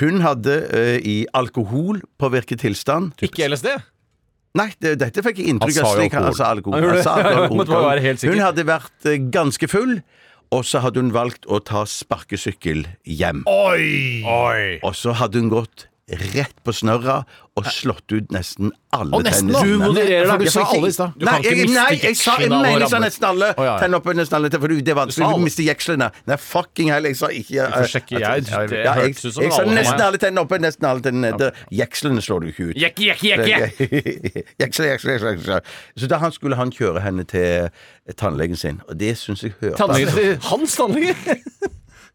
Hun hadde eh, i alkoholpåvirket tilstand
Ikke LSD?
Nei, det, dette fikk jeg inntrykk
Han sa
av.
jo
slik Han
alkohol.
sa alkohol.
Han gjorde
Han sa
det. <laughs>
alkohol.
Måtte bare være helt sikker.
Hun hadde vært eh, ganske full, og så hadde hun valgt å ta sparkesykkel hjem.
Oi! Oi.
Og så hadde hun gått rett på snørra og slått ut nesten alle
Og nesten,
tennene.
da. Du modererer deg.
For
Du sa
ikke-
alle i stad. Du
Nei,
kan ikke
jeg,
miste
nei, jeg sa,
jekslene
jeg mener
og
jeg sa
ramle.
nesten alle.
Å, ja, ja.
Tenn opp nesten alle, for det er
Du sa
vanskelig.
alle.
Du mister jekslene. Nei, fucking heller. Jeg sa ikke jeg,
får sjekke, jeg-
at-
det
ja,
hørtes ut som
jeg sa
alle for meg.
nesten alle tennene oppe, nesten alle tennene nede. Jekslene slår du ikke ut.
Jekke, jekke, jekke!
<laughs> Jeksle, jeksle, jeksle, jeksle. Så da han skulle han kjøre henne til tannlegen sin, og det syns jeg hørte
Tannlegen til Hans tannlege!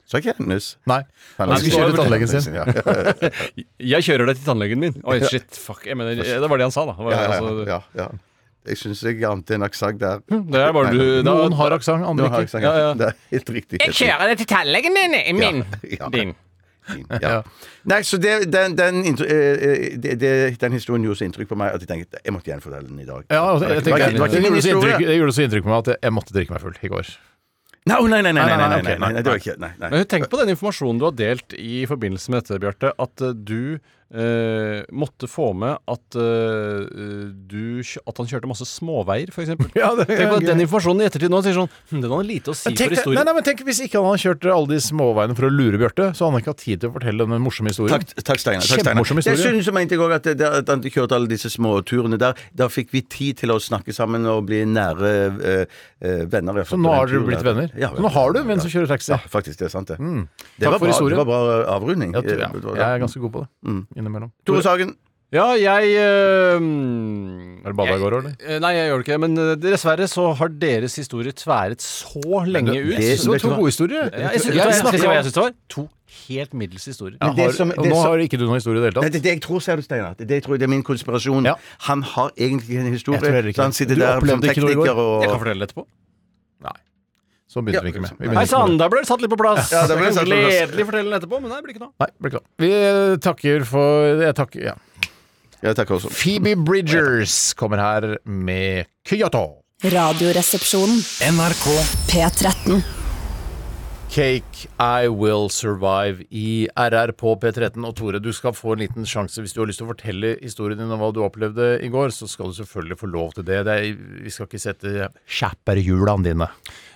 Sa ikke jeg hennes?
Nei. Han skulle kjøre til tannlegen sin.
Ja, ja,
Jeg kjører deg til tannlegen min. <laughs> Oi, shit, fuck. Jeg mener, det var det han sa, da. Det, var,
ja,
altså,
ja, ja. Jeg syns jeg ante en aksent der.
det er bare du da,
Noen har aksent,
Nå
andre
har jeg
ikke.
aksent.
Ja, ja.
Det er helt riktig. helt
deg til tannlegen min!
Ja,
<laughs>
ja.
Din.
riktig. Ja. Nei, så det, den, den, intro- eh, eh, det, det, den historien gjorde så inntrykk på meg at jeg tenkte jeg måtte gjenfortelle den i dag.
Ja, altså, jeg
Det
tenker,
var ikke- det var
det,
ikke min
gjorde så
historie.
inntrykk, det gjorde så inntrykk på meg at jeg- jeg måtte drikke meg full i går.
Nei, nei, nei, nei, nei, nei, nei,
ok, nei,
nei, det var ikke nei, nei.
Men tenk på den informasjonen du har delt i forbindelse med dette, Bjarte. At eh, du eh, måtte få med at, eh, du, kjø- at han kjørte masse småveier, f.eks. <laughs>
Ja, det er
tenk på
gøy.
den informasjonen i ettertid nå. Sier sånn, hm, den hadde lite å si
Tenk,
for
det- nei,
historien.
nei, men tenk hvis ikke han hadde kjørt alle de småveiene for å lure Bjarte, så hadde han ikke hatt tid til å fortelle denne morsomme historien.
Takk, takk Steinar. takk, Steinar.
Kjempemorsom historie.
Jeg synes jeg mente jeg også at, det- at han kjørte alle disse små turene der. Da fikk vi tid til å snakke sammen og bli nære eh, eh, venner.
Så nå har dere blitt venner?
Ja,
nå har du en venn som kjører taxi. Mm.
Ja, faktisk. Det er sant, det. Det,
Takk for
var bra, det
historien.
var bra avrunding.
Ja, du, ja.
Eh, det var-
Jeg er ganske god på det.
Mm.
Innimellom.
Tore Sagen.
Ja, jeg eh,
Er det bada i går, eller?
eh, Nei, jeg gjør det ikke. Men eh, dessverre så har deres historie tværet så lenge ut.
det-
Det var to gode historier.
Ja, jeg synes,
Jeg
jeg, jeg,
snakker
jeg
om-
synes det var to helt middels historier.
Ja,
Men det
har-
som-
og
det
Nå
som-
har ikke du noen historie i det hele
Nei,
tatt.
det, det jeg tror, ser du, Steinar. Det, det, jeg tror, det er min konspirasjon.
Ja.
Han har egentlig ikke en historie.
Jeg tror heller ikke
så han
det.
sitter
Du
der som
opplevde ikke noe i går.
tekniker og
Jeg kan fortelle det etterpå.
Så begynte vi ikke med. Vi begynte
Hei
ikke med det.
sann, der ble det satt litt på plass.
Ja, der ble det satt på plass.
Gledelig fortelle den etterpå, men nei, det blir ikke noe.
Nei, beklager. Vi takker for jeg takker, ja.
Ja, takk også.
Phoebe Bridgers kommer her med Kyoto.
Radioresepsjonen.
NRK
P13.
Cake I Will Survive i RR på P13. Og Tore, du skal få en liten sjanse hvis du har lyst til å fortelle historien din om hva du opplevde i går. Så skal du selvfølgelig få lov til det. det er, vi skal ikke sette kjapperhjulene dine.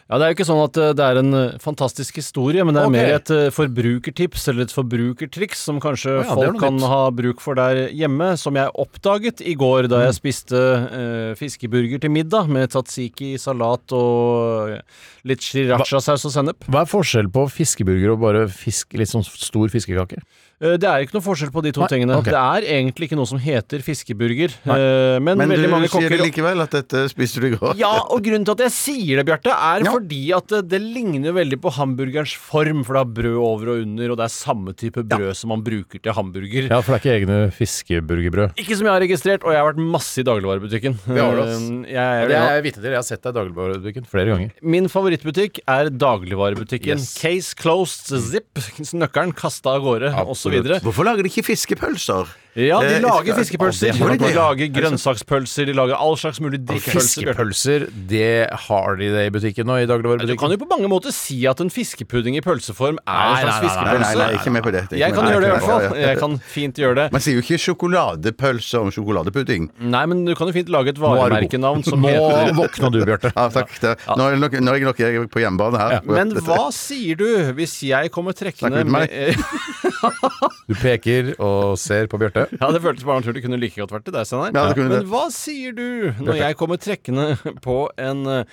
Ja, Det er jo ikke sånn at eh, det er en eh, fantastisk historie, men det er
Ok.
mer et eh, forbrukertips eller et forbrukertriks som kanskje
Å ja, det er
folk
noe
kan
nytt.
ha bruk for der hjemme, som jeg oppdaget i går da jeg spiste eh, fiskeburger til middag med tzatziki, salat og eh, litt sriracha-saus og sennep.
Hva er forskjellen på fiskeburger og bare fisk, litt sånn stor fiskekake?
Eh, Det er ikke noe forskjell på de to
Nei,
tingene.
ok.
Det er egentlig ikke noe som heter fiskeburger, eh, men,
Men
veldig
du
mange
sier
kokker
likevel at dette spiste du i går.
Ja, og grunnen til at jeg sier det, Bjarte, er fordi at det, det ligner jo veldig på hamburgerens form, for det har brød over og under, og det er samme type brød som man bruker til hamburger.
Ja, for det er ikke egne fiskeburgerbrød.
Ikke som jeg har registrert, og jeg har vært masse i dagligvarebutikken.
har du, ass.
Eh, Jeg, er jo-
Det er jeg vitne til. Jeg har sett deg i dagligvarebutikken flere ganger.
Min favorittbutikk er dagligvarebutikken.
Yes.
Case closed, zip, nøkkelen kasta av gårde, osv.
Hvorfor lager de ikke fiskepølser?
Ja, de
Eh,
lager
skal-
fiskepølser.
Å, det har de,
de
ja.
lager grønnsakspølser, de lager all slags mulig drikkpølser. Bjarte.
Fiskepølser, det har de det i butikken nå?
Du
I
kan
dagligvarebutikken?
jo på mange måter si at en fiskepudding i pølseform er en
Nei,
slags
nei, nei,
Nei, nei, nei,
fiskepølse.
ikke med på det. Ikke
Jeg
med
kan
på
gjøre det i hvert
Ja,
fall.
ja, ja.
Jeg kan fint gjøre det.
Man sier jo ikke sjokoladepølse om sjokoladepudding.
Nei, men du kan jo fint lage et
Nå er du
varemerkenavn
god.
som heter
Nå våkna du, Bjarte.
Ja, takk. Det. Nå er det nok, nå er jeg nok jeg er på hjemmebane her.
Men
Dette-
hva sier du hvis jeg kommer trekkende
Snakk med meg.
med <laughs>
Du peker og ser på Bjarte.
Ja, det føltes bare naturlig. Det kunne like godt vært til deg, Steinar.
Ja, det kunne
Men
det.
hva sier du når jeg kommer trekkende på en eh,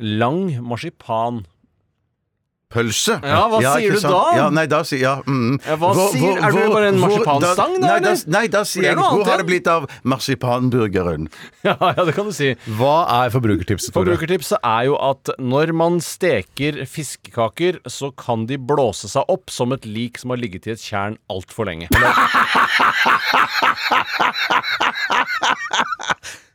lang marsipan? <laughs>
Pølse?
Ja, hva sier
ikke
du da?
Ja, nei, da sier ja, mm.
Ja, hva sier- er du bare en
hvor-
marsipanstang da,
Nei, da,
eller?
nei, da
For det
sier
er
jeg
noe annet
Hvor har det
igjen.
blitt av marsipanburgeren?
Ja, ja, det kan du si.
Hva er forbrukertipset, Tore?
Forbrukertipset er jo at når man steker fiskekaker, så kan de blåse seg opp som et lik som har ligget i et tjern altfor lenge.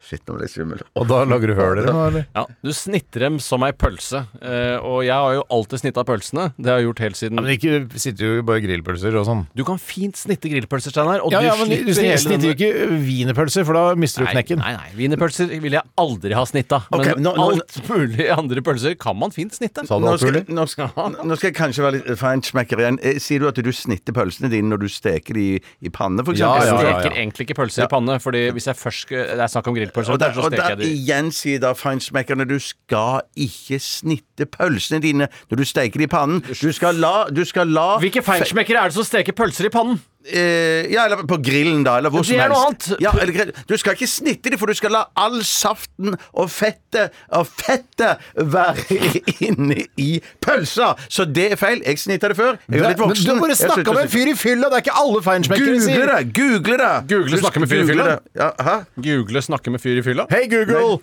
Shit, nå ble jeg svimmel.
Og da lager du høl i dem, eller?
Ja, Du snitter dem som ei pølse. Eh, og jeg har jo alltid snitta pølsene. Det har jeg gjort helt siden
Men ikke sitter jo bare grillpølser og sånn.
Du kan fint snitte grillpølser, Steinar. Og
Ja, ja,
du
men du
slipper hele
snitter jo
denne-
ikke wienerpølser, for da mister du
Nei,
knekken.
nei, nei. Wienerpølser ville jeg aldri ha snitta. Men
Ok, nå- nå-
alt mulig andre pølser kan man fint snitte.
Sa du
Nå
alt
skal,
mulig?
nå, skal, nå skal jeg kanskje være litt feinschmecker igjen. Eh, Sier du at du snitter pølsene dine når du steker de i panne, for
Ja, ja,
eksempel?
ja.
Jeg steker egentlig ikke pølser i panne, Fordi hvis jeg først skal- Det er snakk om grillpølser,
Og der,
så
og
steker jeg
der
de.
igjen sier da feinschmeckerne du skal ikke snitte pølsene dine når du steker de i pannen. Du skal la, du skal la
Hvilke feinschmeckere er det som steker pølser i pannen?
eh, Ja, eller på grillen, da, eller hvor
Det
som
er
helst.
noe annet.
Ja, eller grill. Du skal ikke snitte de, for du skal la all saften og fettet og fettet være <laughs> inne i pølsa. Så det er feil. Jeg snitta det før. Jeg er litt voksen.
Men du bare
Jeg
snakka
sluttet
med
å
en fyr i fylla! Det er ikke alle feinschmeckere
Google
sier
det! Google det!
Google
Du-
snakke med fyr i
google
fylla?
det. Ja, hæ?
Google 'snakke med fyr i fylla'?
Hei, Google!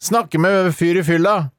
Snakke med en fyr i fylla.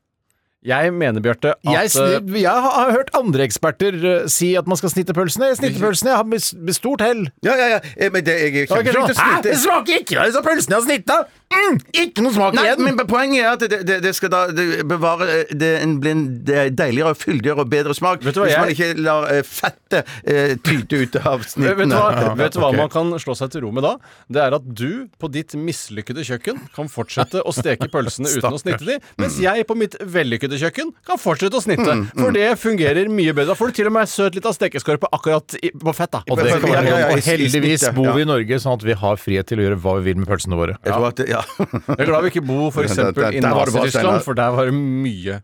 Jeg mener, Bjarte, at
Jeg,
eh,
sni- jeg har har hørt andre eksperter eh, si at man skal snitte pølsene. Jeg snitter pølsene, jeg har med, s- med stort hell.
Ja, ja, ja. Eh, Men det, jeg er
Det var ikke
kjempeflink til å
sånn, Hæ,
snitte.
det smaker ikke! Det er disse pølsene jeg har snitta! Mm, ikke noe smak
Nei,
igjen!
men poenget er at det, det, det skal da det bevare eh, det en blir en de- deiligere, og fyldigere og bedre smak
Vet du hva,
hvis
jeg-
man ikke lar eh, fettet eh, tyte ut av
<laughs> Vet du
snittene.
hva, vet du hva
ok.
man kan slå seg til ro med da? Det er at du på ditt mislykkede kjøkken kan fortsette å steke pølsene
<laughs>
uten å snitte de, mens jeg på mitt vellykkede kjøkken kan fortsette å snitte.
Mm,
For det fungerer mye bedre. Da får du til og med søt liten stekeskorpe akkurat i, på fett, da.
Og det kan
Ja,
være
ja,
lov.
ja, i-
Og
i
heldigvis
snittet,
bor
ja.
vi i Norge, sånn at vi har frihet til å gjøre hva vi vil med pølsene våre.
Jeg tror at det,
<laughs>
ja.
Jeg er glad vi ikke bor f.eks.
Der- der-
i
der var det bra, Steinar.
Nazi-Tyskland, for der var det mye,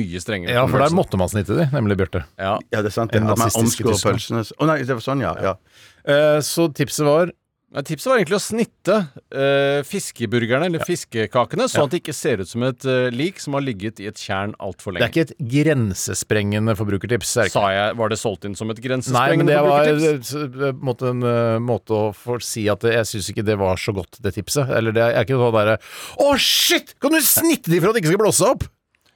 mye strengere.
Ja, for der måtte man snitte de, nemlig Bjarte.
Ja.
ja, det er sant.
En
At man
nazistiske
omskår
tysker.
pølsene Å nei, det var sånn, ja. ja.
Eh, Så tipset var
Nei, Tipset var egentlig å snitte eh, fiskeburgerne, eller fiskekakene, sånn at det ikke ser ut som et eh, lik som har ligget i et tjern altfor lenge.
Det er ikke et grensesprengende forbrukertips. Er det ikke?
Sa jeg, Var det solgt inn som et
Nei, men
grensesprengende
det var eh,
forbrukertips?
s- eh, på en måte en eh, måte å få si at eh, jeg syns ikke det var så godt, det tipset. Eller det er ikke sånn derre Å, shit! Kan du snitte de for at det ikke skal blåse opp?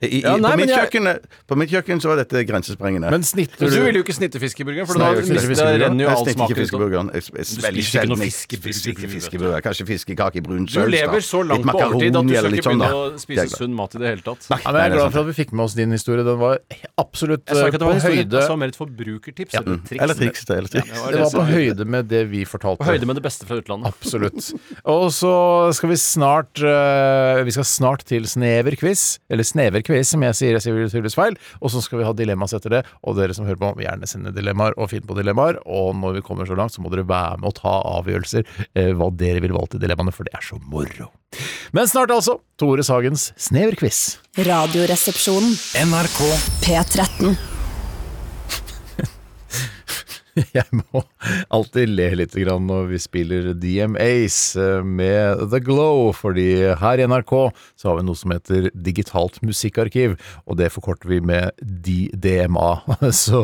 I, i,
Ja, nei, men
på, mitt
jeg-
kjøkken, eh, på mitt kjøkken så var dette grensesprengende.
Men snitter
Men Du
du
ville jo ikke snitte fiskeburgeren, for
Nei,
da
jeg vil ikke snitte
da renner jo
jeg
all
snitter ikke
smaken ut.
fiskeburgeren. Jeg- jeg- Veldig
spiser ikke noe
sjelden. jeg
fiske-
spiser ikke fiskeburger. Kanskje fiskekake i brun
Du
saus. da.
lever så langt
Litt
på overtid at du
makaroni eller
skal ikke
litt
begynne
sånn, da.
å
Det
spise
er glad.
sunn mat i det hele tatt.
Nei,
ja, men Jeg
nei,
er
det
glad for at vi fikk med oss din historie. Den var he- absolutt
Jeg sa
eh,
ikke at det var
på
historie,
høyde
jeg sa mer et forbrukertips. eller et triks.
Eller triks. det, Eller triks.
Det var
Det
det
var
som-
på høyde med det vi fortalte.
På høyde med det beste fra utlandet.
Absolutt. Og så skal vi snart eh, Vi skal snart til sneverquiz, eller sneverquiz, som jeg sier. Jeg sier vel tydeligvis feil. Og så skal vi ha dilemmas etter det. Og dere som hører på, må gjerne sende dilemmaer og finne på dilemmaer. Og når vi kommer så langt, så må dere være med og ta avgjørelser eh, hva dere vil valge til dilemmaene, for det er så moro. Men snart altså Tore Sagens sneverquiz.
Radioresepsjonen.
NRK
P13.
<laughs> Jeg må alltid le litt grann når vi spiller DMAs eh, med The Glow, fordi her i NRK så har vi noe som heter Digitalt musikkarkiv, og det forkorter vi med DDMA. <laughs> Så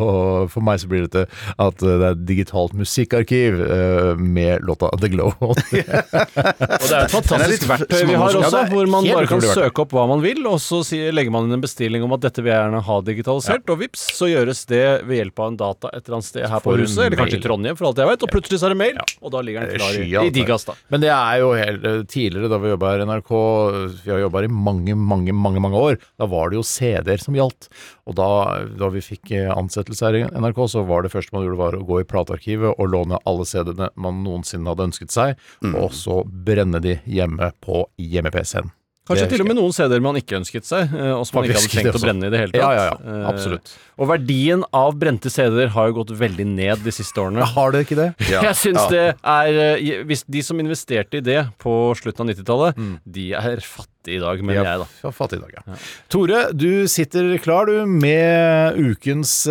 for meg så blir dette at det er Digitalt musikkarkiv eh, med låta The Glow. <laughs>
Og det er et fantastisk
litt
verktøy vi
små-
har
ja,
også,
det er
hvor man
helt
bare kan
utrolig verktøy.
søke opp hva man vil, og så sier- legger man inn en bestilling om at dette vil jeg gjerne ha digitalisert, og vips, så gjøres det ved hjelp av en data et eller annet sted her på
får du en
huset, eller kanskje i
mail.
Trondheim, for alt jeg vet, og plutselig så er det mail, og da ligger den
Det er
klar i,
altså.
skyalt,
i Digas, da.
Men det er jo helt eh, Tidligere, da vi jobba her i NRK Vi har jobba her i mange, mange mange, mange år. Da var det jo CD-er som gjaldt. Og da, da vi fikk eh, ansettelse her i NRK, så var det første man gjorde, var å gå i platearkivet og låne alle CD-ene man noensinne hadde ønsket seg,
Mm.
og så brenne de hjemme på hjemme-PC-en.
Kanskje
Det
til og
husker
med noen CD-er man ikke ønsket seg, eh, og som man ikke
Faktisk,
hadde trengt å
det også.
brenne i det hele tatt.
Ja, ja, ja.
Eh,
Absolutt.
Og verdien av brente CD-er har jo gått veldig ned de siste årene.
Har dere ikke det? <laughs>
Jeg syns det er eh, je- Hvis de som investerte i det på slutten av 90-tallet, de er fattige i dag, mener jeg, da.
Mm. Ja, fattig i dag, ja. Tore, du sitter klar du med ukens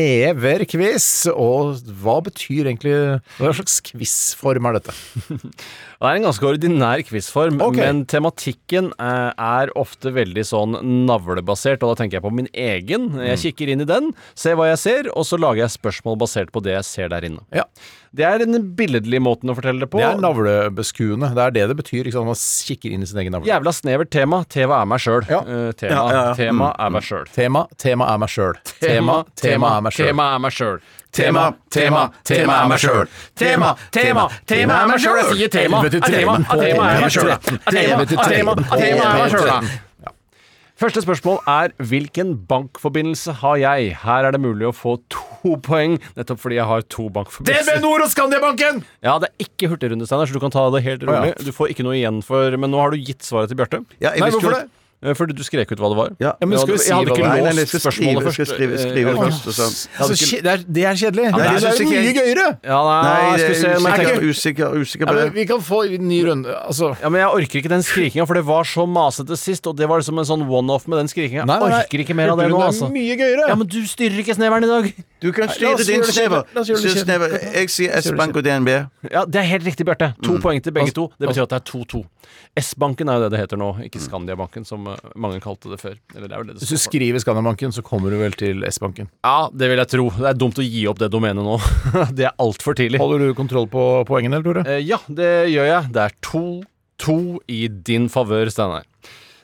snever-quiz. Og hva betyr egentlig Hva slags quizform er dette?
Det er en ganske ordinær quizform,
Ok.
men tematikken eh, er ofte veldig sånn navlebasert, og da tenker jeg på min egen. Jeg
Mm.
kikker inn i den, ser hva jeg ser, og så lager jeg spørsmål basert på det jeg ser der inne.
Ja,
Det er den billedlige måten å fortelle det på.
Det er navlebeskuende. Det er det det betyr. Ikke sant? Man kikker inn i sin egen navle.
Jævla snevert tema. Tema er meg sjøl. Eh,
Ja. Mm.
tema, tema er meg sjøl.
Tema, tema er meg sjøl. Tema, tema er meg sjøl.
Tema er meg sjøl.
Tema, tema, tema er meg selv.
Tema, tema, tema er meg sjøl. Jeg sier tema.
Helvete,
Ah, Tema,
tremen
ah, tema er meg sjøl. Tema,
Helvete,
ah, tema,
tremen
ah, tema er meg
Ja.
sjøl. Første spørsmål er hvilken bankforbindelse har jeg? Her er det mulig å få to poeng, nettopp fordi jeg har to bankforbindelser.
Nord og Skandiabanken!
Ja, det er ikke hurtigrunde, Steinar, så du kan ta det helt
ja.
rolig. Du får ikke noe igjen for Men nå har du gitt svaret til Bjarte.
Ja, jeg
Nei,
visste jo
hvorfor
at-
det?
Eh, Fordi du skrek ut hva det var.
Ja. Ja,
men skal vi si
jeg hadde ikke
hva det er?
Nei, nei,
låst
jeg skal skrive,
spørsmålet først.
skal skrive, skrive
Eh,
først og sånn.
Så kje- det, er, det er kjedelig.
det
det,
synes
er jo mye
ikke jeg. sånn-
gøyere.
Ja, nei,
Nei,
skal vi
det
se, men jeg
er usikker,
tenker-
usikker, usikker
Ja,
på
men
det.
vi kan få en ny runde. Altså
ja, men jeg orker ikke den skrikinga, for det var så masete sist, og det var liksom en sånn one-off med den skrikinga. Jeg orker ikke mer av det nå, altså.
Det er mye gøyere.
Ja, men du styrer ikke sneveren i dag.
Du kan
la
styre
oss
din
gjøre det
snever.
kjedelig. La oss gjøre det
Styr snever.
kjedelig.
Jeg sier S-Bank og DNB.
Ja, Det er helt riktig, Bjarte. To
Mm.
poeng til begge
Altså-
to. Det betyr at det er 2-2. S-banken er jo det det heter nå, ikke Skandiabanken, som eh, mange kalte det før. Eller det er vel det det
Hvis du
står for.
skriver Skandiabanken, så kommer du vel til S-banken.
Ja, det vil jeg tro. Det er dumt å gi opp det domenet nå. <laughs> det er altfor tidlig.
Holder du kontroll på poengene, eller, Tore?
Eh, ja, det gjør jeg. Det er 2-2 i din favør, Steinar.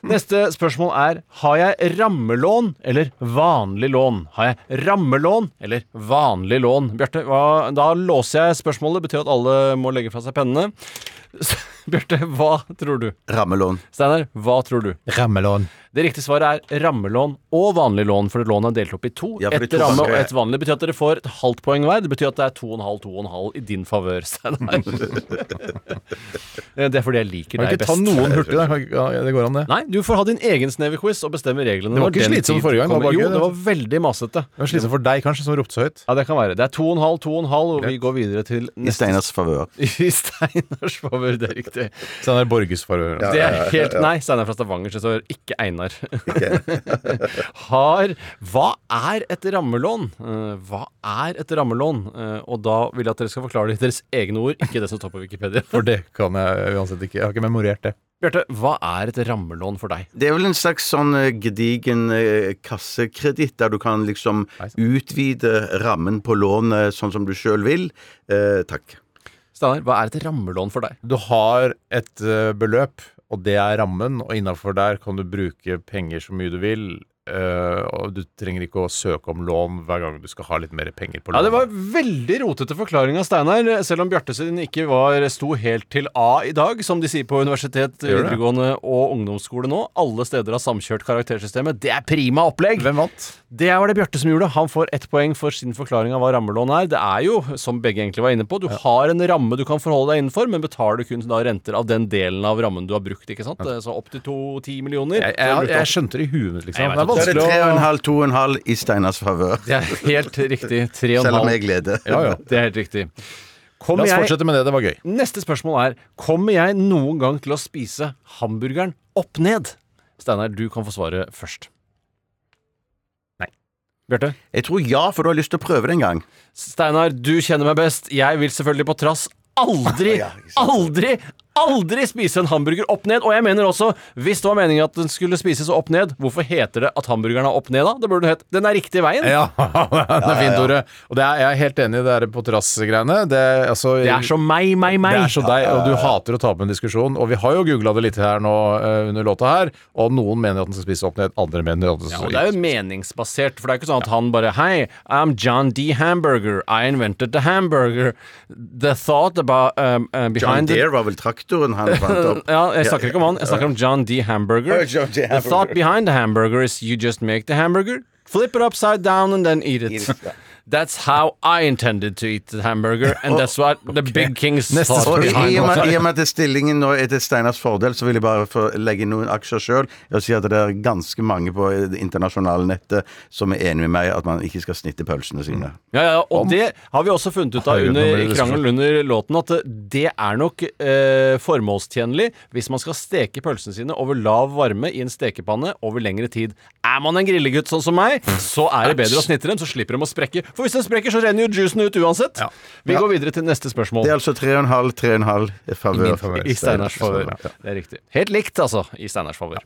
Neste spørsmål er Har jeg rammelån eller vanlig lån? Har jeg rammelån eller vanlig lån? Bjarte, hva- da låser jeg spørsmålet. Betyr at alle må legge fra seg pennene. <laughs> Bjarte, hva tror du?
Rammelån.
Steinar, hva tror du?
Rammelån.
Det riktige svaret er rammelån og vanlig lån, for lån er delt opp i to.
Ja, for de
et
to
ramme og
banker-
et vanlig. Det betyr at dere får et halvt poeng hver. Det betyr at det er to og en halv, to og en halv i din favør, <laughs>
<laughs>
Steinar. det er fordi jeg liker
Kan vi
deg
ikke ta
best.
noen hurtig, da? Kan vi ikke- Ja, det går an, det.
Nei, du får ha din egen snevequiz og bestemme reglene.
Det var
når
ikke
den
slitsomt
tid
forrige gang, det var
kommer.
bare
Jo,
gøy,
det
det.
var veldig masete.
Det var slitsomt for deg, kanskje, som ropte så høyt.
Ja, det kan være. Det er to og en halv, to og en halv, og vi går videre til
I
neste <laughs>
Steiners favør.
I Steinars favør, det er riktig.
Steinar Borges favør.
Det er helt Nei, Steinar fra Stavanger, så står ikke Einar. <laughs> Har Hva er et rammelån? Eh, Hva er et rammelån? Eh, Og da vil jeg at dere skal forklare det i deres egne ord, ikke det som står på Wikipedia. <laughs>
For det kan jeg uansett ikke. Jeg har ikke memorert det.
Bjarte, hva er et rammelån for deg?
Det er vel en slags sånn eh, gedigen eh, kassekreditt, der du kan liksom utvide rammen på lånet sånn som du sjøl vil. Eh, takk.
Steinar, hva er et rammelån for deg?
Du har et eh, beløp, og det er rammen, og innafor der kan du bruke penger så mye du vil. eh, og du trenger ikke å søke om lån hver gang du skal ha litt mer penger på lån.
Ja, Det var veldig rotete forklaring av Steinar, selv om Bjarte sin ikke var, sto helt til A i dag, som de sier på universitet,
Gjør det.
videregående og ungdomsskole nå. Alle steder har samkjørt karaktersystemet. Det er prima opplegg!
Hvem vant?
Det var det Bjarte som gjorde. Han får ett poeng for sin forklaring av hva rammelån er. Det er jo, som begge egentlig var inne på, du har en ramme du kan forholde deg innenfor, men betaler du kun da renter av den delen av rammen du har brukt, ikke sant? Eh, Så opp til to-ti millioner.
Jeg, jeg, jeg skjønte det i huet mitt, liksom.
Nei, jeg
Det er
Da er det
vanskelig å
3,5, 2,5 i Steiners favør.
det er helt riktig. Tre og en
Selv om jeg
halv.
gleder.
Ja, ja.
Det er helt riktig.
La
Kommer
oss
jeg
fortsette med det. Det var gøy.
Neste spørsmål er Kommer jeg noen gang til å spise hamburgeren opp ned? Steinar, du kan få svaret først. Nei. Bjarte?
Jeg tror ja, for du har lyst til å prøve det en gang.
<laughs>
Steinar, du kjenner meg best. Jeg vil selvfølgelig på trass aldri, aldri, aldri spise en hamburger opp ned. Og jeg mener også, hvis det var meningen at den skulle spises opp ned, hvorfor heter det at hamburgeren er opp ned, da? Det burde hett Den er riktig veien.
Ja, <laughs> det er fint, Tore. Og det er, jeg er helt enig i det der på trass-greiene. Det, er, altså,
Det er så meg, meg, meg.
Det er så deg, og du hater å ta opp en diskusjon. Og vi har jo googla det litt her nå eh, under låta her, og noen mener at den skal spises opp ned, andre mener at den
Ja,
skal
og det er jo meningsbasert, for det er ikke sånn at han bare Hei, I'm John D. Hamburger. I invented the hamburger. The thought about um, uh,
John
behind
Deere
the
var vel traktoren han fant opp.
<laughs> ja, jeg snakker ikke om han, jeg snakker om John D. Hamburger.
Ja, <laughs> John D.
The thought
Hamburger.
behind the hamburger is you just make the hamburger, flip it upside down and then eat it. <laughs> That's how I intended to eat the hamburger,
<laughs> Oh,
and that's what the big kings
Neste
thought
Og i,
behind
i, og med,
it.
I og med at det stillingen nå er til Steinars fordel, så vil jeg bare få legge inn noen aksjer sjøl og si at det er ganske mange på det internasjonale nettet som er enig med meg at man ikke skal snitte pølsene sine.
Ja, ja, og det har vi også funnet ut av
Herregud, nå
under
blir det
krangel under låten, at det er nok eh, formålstjenlig hvis man skal steke pølsene sine over lav varme i en stekepanne over lengre tid. Er man en grillegutt sånn som meg, så er det bedre å snitte dem, så slipper de å sprekke. For hvis den sprekker, så renner jo juicen ut uansett.
Ja.
Vi går videre til neste spørsmål.
Det er altså 3,5, 3,5 favør.
favør.
I Steinars favør. Ja, det er riktig. Helt likt, altså, i Steinars favør.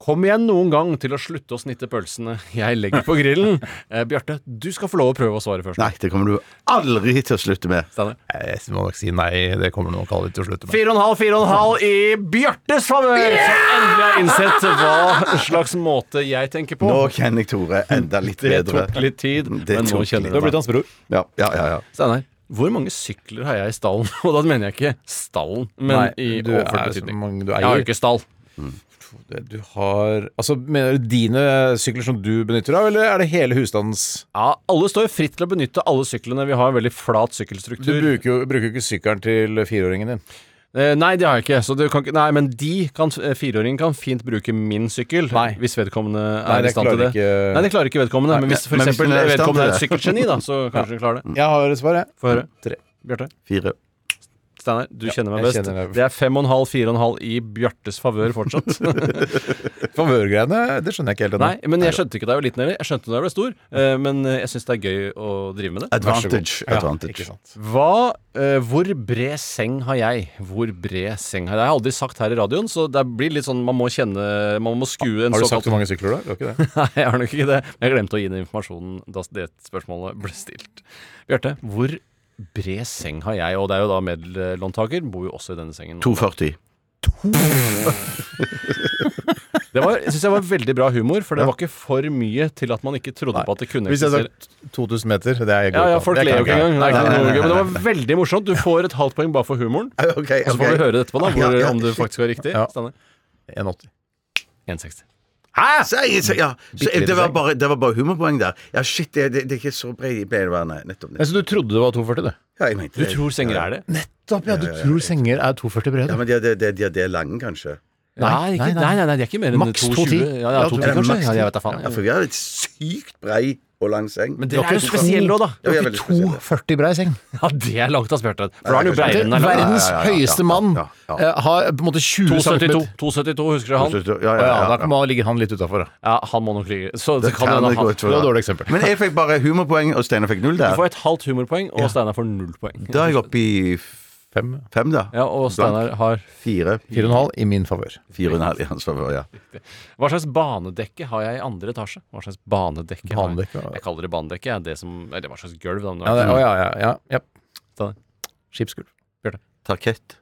Kom igjen noen gang til å slutte å snitte pølsene jeg legger på grillen. Eh, Bjarte, du skal få lov å prøve å svare først.
Nei, det kommer du aldri til å slutte med.
Steinar.
Jeg må nok si nei, det kommer nok aldri til å slutte med.
Fire og en halv, fire og en halv i Bjartes favør! Som endelig har innsett hva slags måte jeg tenker på.
Nå kjenner jeg Tore enda litt
det
bedre.
tok litt tid,
Det
men nå
tok
kjenner
litt.
du det.
hans bror.
Ja, ja, ja, ja.
Steinar, hvor mange sykler har jeg i stallen? <laughs> Og da mener jeg ikke stallen, men
Nei,
i
du er
overført
så
betydning.
mange du
Jeg har
eier.
jo ikke stall.
Du har Altså, mener du dine sykler som du benytter av, eller er det hele husstandens?
Ja, alle står jo fritt til å benytte alle syklene. Vi har en veldig flat
Du
sykkelstruktur.
bruker jo bruker jo ikke sykkelen til fireåringen din.
Eh, nei, det har jeg ikke. Så du kan, ikke- nei, men de kan, eh, fireåringen kan fint bruke min sykkel
Nei.
hvis vedkommende er
Nei,
i
det
stand til
klarer
det.
ikke-
Nei, det klarer ikke vedkommende. men hvis for
men hvis
eksempel
den er i stand
vedkommende er et
til
sykkelgeni, da,
<laughs>
så kanskje den klarer det.
Jeg har et svar, jeg.
Få høre.
Tre.
Bjarte?
Fire.
Steinar, du kjenner meg
jeg
best.
kjenner deg.
Det er fem og en halv, fire og en halv i Bjartes favør fortsatt.
<laughs> Favørgreiene, det skjønner jeg ikke helt ennå.
Nei, men jeg skjønte ikke da jeg var liten heller. Jeg skjønte da jeg ble stor, eh, men eh, jeg syns det er gøy å drive med det.
Advantage.
Ja,
advantage.
ikke sant.
Hva, eh, hvor bred seng har jeg? Hvor bred seng har jeg? Det har jeg aldri sagt her i radioen, så det blir litt sånn man må kjenne Man må skue en
Har du
såkalt
sagt hvor mange sykler du har? Du har ikke det?
<laughs> Nei, jeg har nok ikke det. Men jeg glemte å gi den informasjonen da det spørsmålet ble stilt. Bjarte, hvor bred seng har jeg? Og det er jo da medlåntaker. Bor jo også i denne sengen. <laughs>
240.
Det var, synes jeg var veldig bra humor, for det var ikke for mye til at man ikke trodde på at det kunne
Hvis jeg
eksistere.
hadde sagt 2000 meter, det er jeg
Ja,
god
ja,
på.
folk
Det kan
ler jo ikke
jeg.
engang. Det er ikke noe gøy, Men det var veldig morsomt. Du får et halvt poeng bare for humoren.
Ok, ok.
Så får vi høre det etterpå, da, hvor,
Ja, ja,
om det
shit.
faktisk var riktig.
Ja.
Steinar.
1,80.
1,60. Ah!
Sei- sei- ja. Så,
Bitte lite
det, var
seng.
bare, det var bare humorpoeng der. Ja, shit, det, det, det er ikke så bred i beinvernet. Nettopp. nettopp.
Så du trodde det var 2,40, du?
Ja, jeg mente
Du
det.
tror senger er det?
Nettopp, ja. Du tror senger er 2,40 brede?
Ja, men de er, de, de, de er, de er lange, kanskje.
Nei, ikke, nei, nei, nei, de er ikke mer enn
Maks
2,20.
2,10.
Ja, ja,
Ja,
2,10
maks
kanskje. Ja,
10.
jeg vet da faen.
Ja, for vi har et sykt brei og lang seng.
Men dere
Dere
er jo
er
spesielle òg, da.
Ja, vi er veldig spesielle.
2,40 brei seng.
Ja, det er langt av Bjarte. For da er han jo
Nei,
breiere enn han er lang.
Verdens
Ja, ja, ja, ja,
høyeste
ja,
mann
ja, ja.
eh, har på en måte 20
2,72.
cm
2,72, husker du han?
Ja, ja,
Ja,
ja,
da
ja.
må- ligger han litt utafor, da.
Ja, han må nok ligge. Så det,
Det
kan
kan
hende
jeg
han
godt
Det
tro,
var et
da.
dårlig eksempel.
Men jeg fikk bare humorpoeng, og Steinar fikk null
Du
der.
får et halvt humorpoeng, og Steinar får null poeng.
Da er jeg oppe i f-
Fem.
fem, da.
Ja, og Steinar har
Fire.
4,5 i min favør.
Fire og en halv i hans favør, ja.
Hva slags banedekke har jeg i andre etasje? Hva slags banedekke? har jeg?
Banedekke, ja.
Jeg kaller det banedekke. jeg. Det som, eller hva slags gulv, da. men
Ja, det, å, ja, ja, ja, ja.
Steinar.
Skipsgulv.
Tarkett.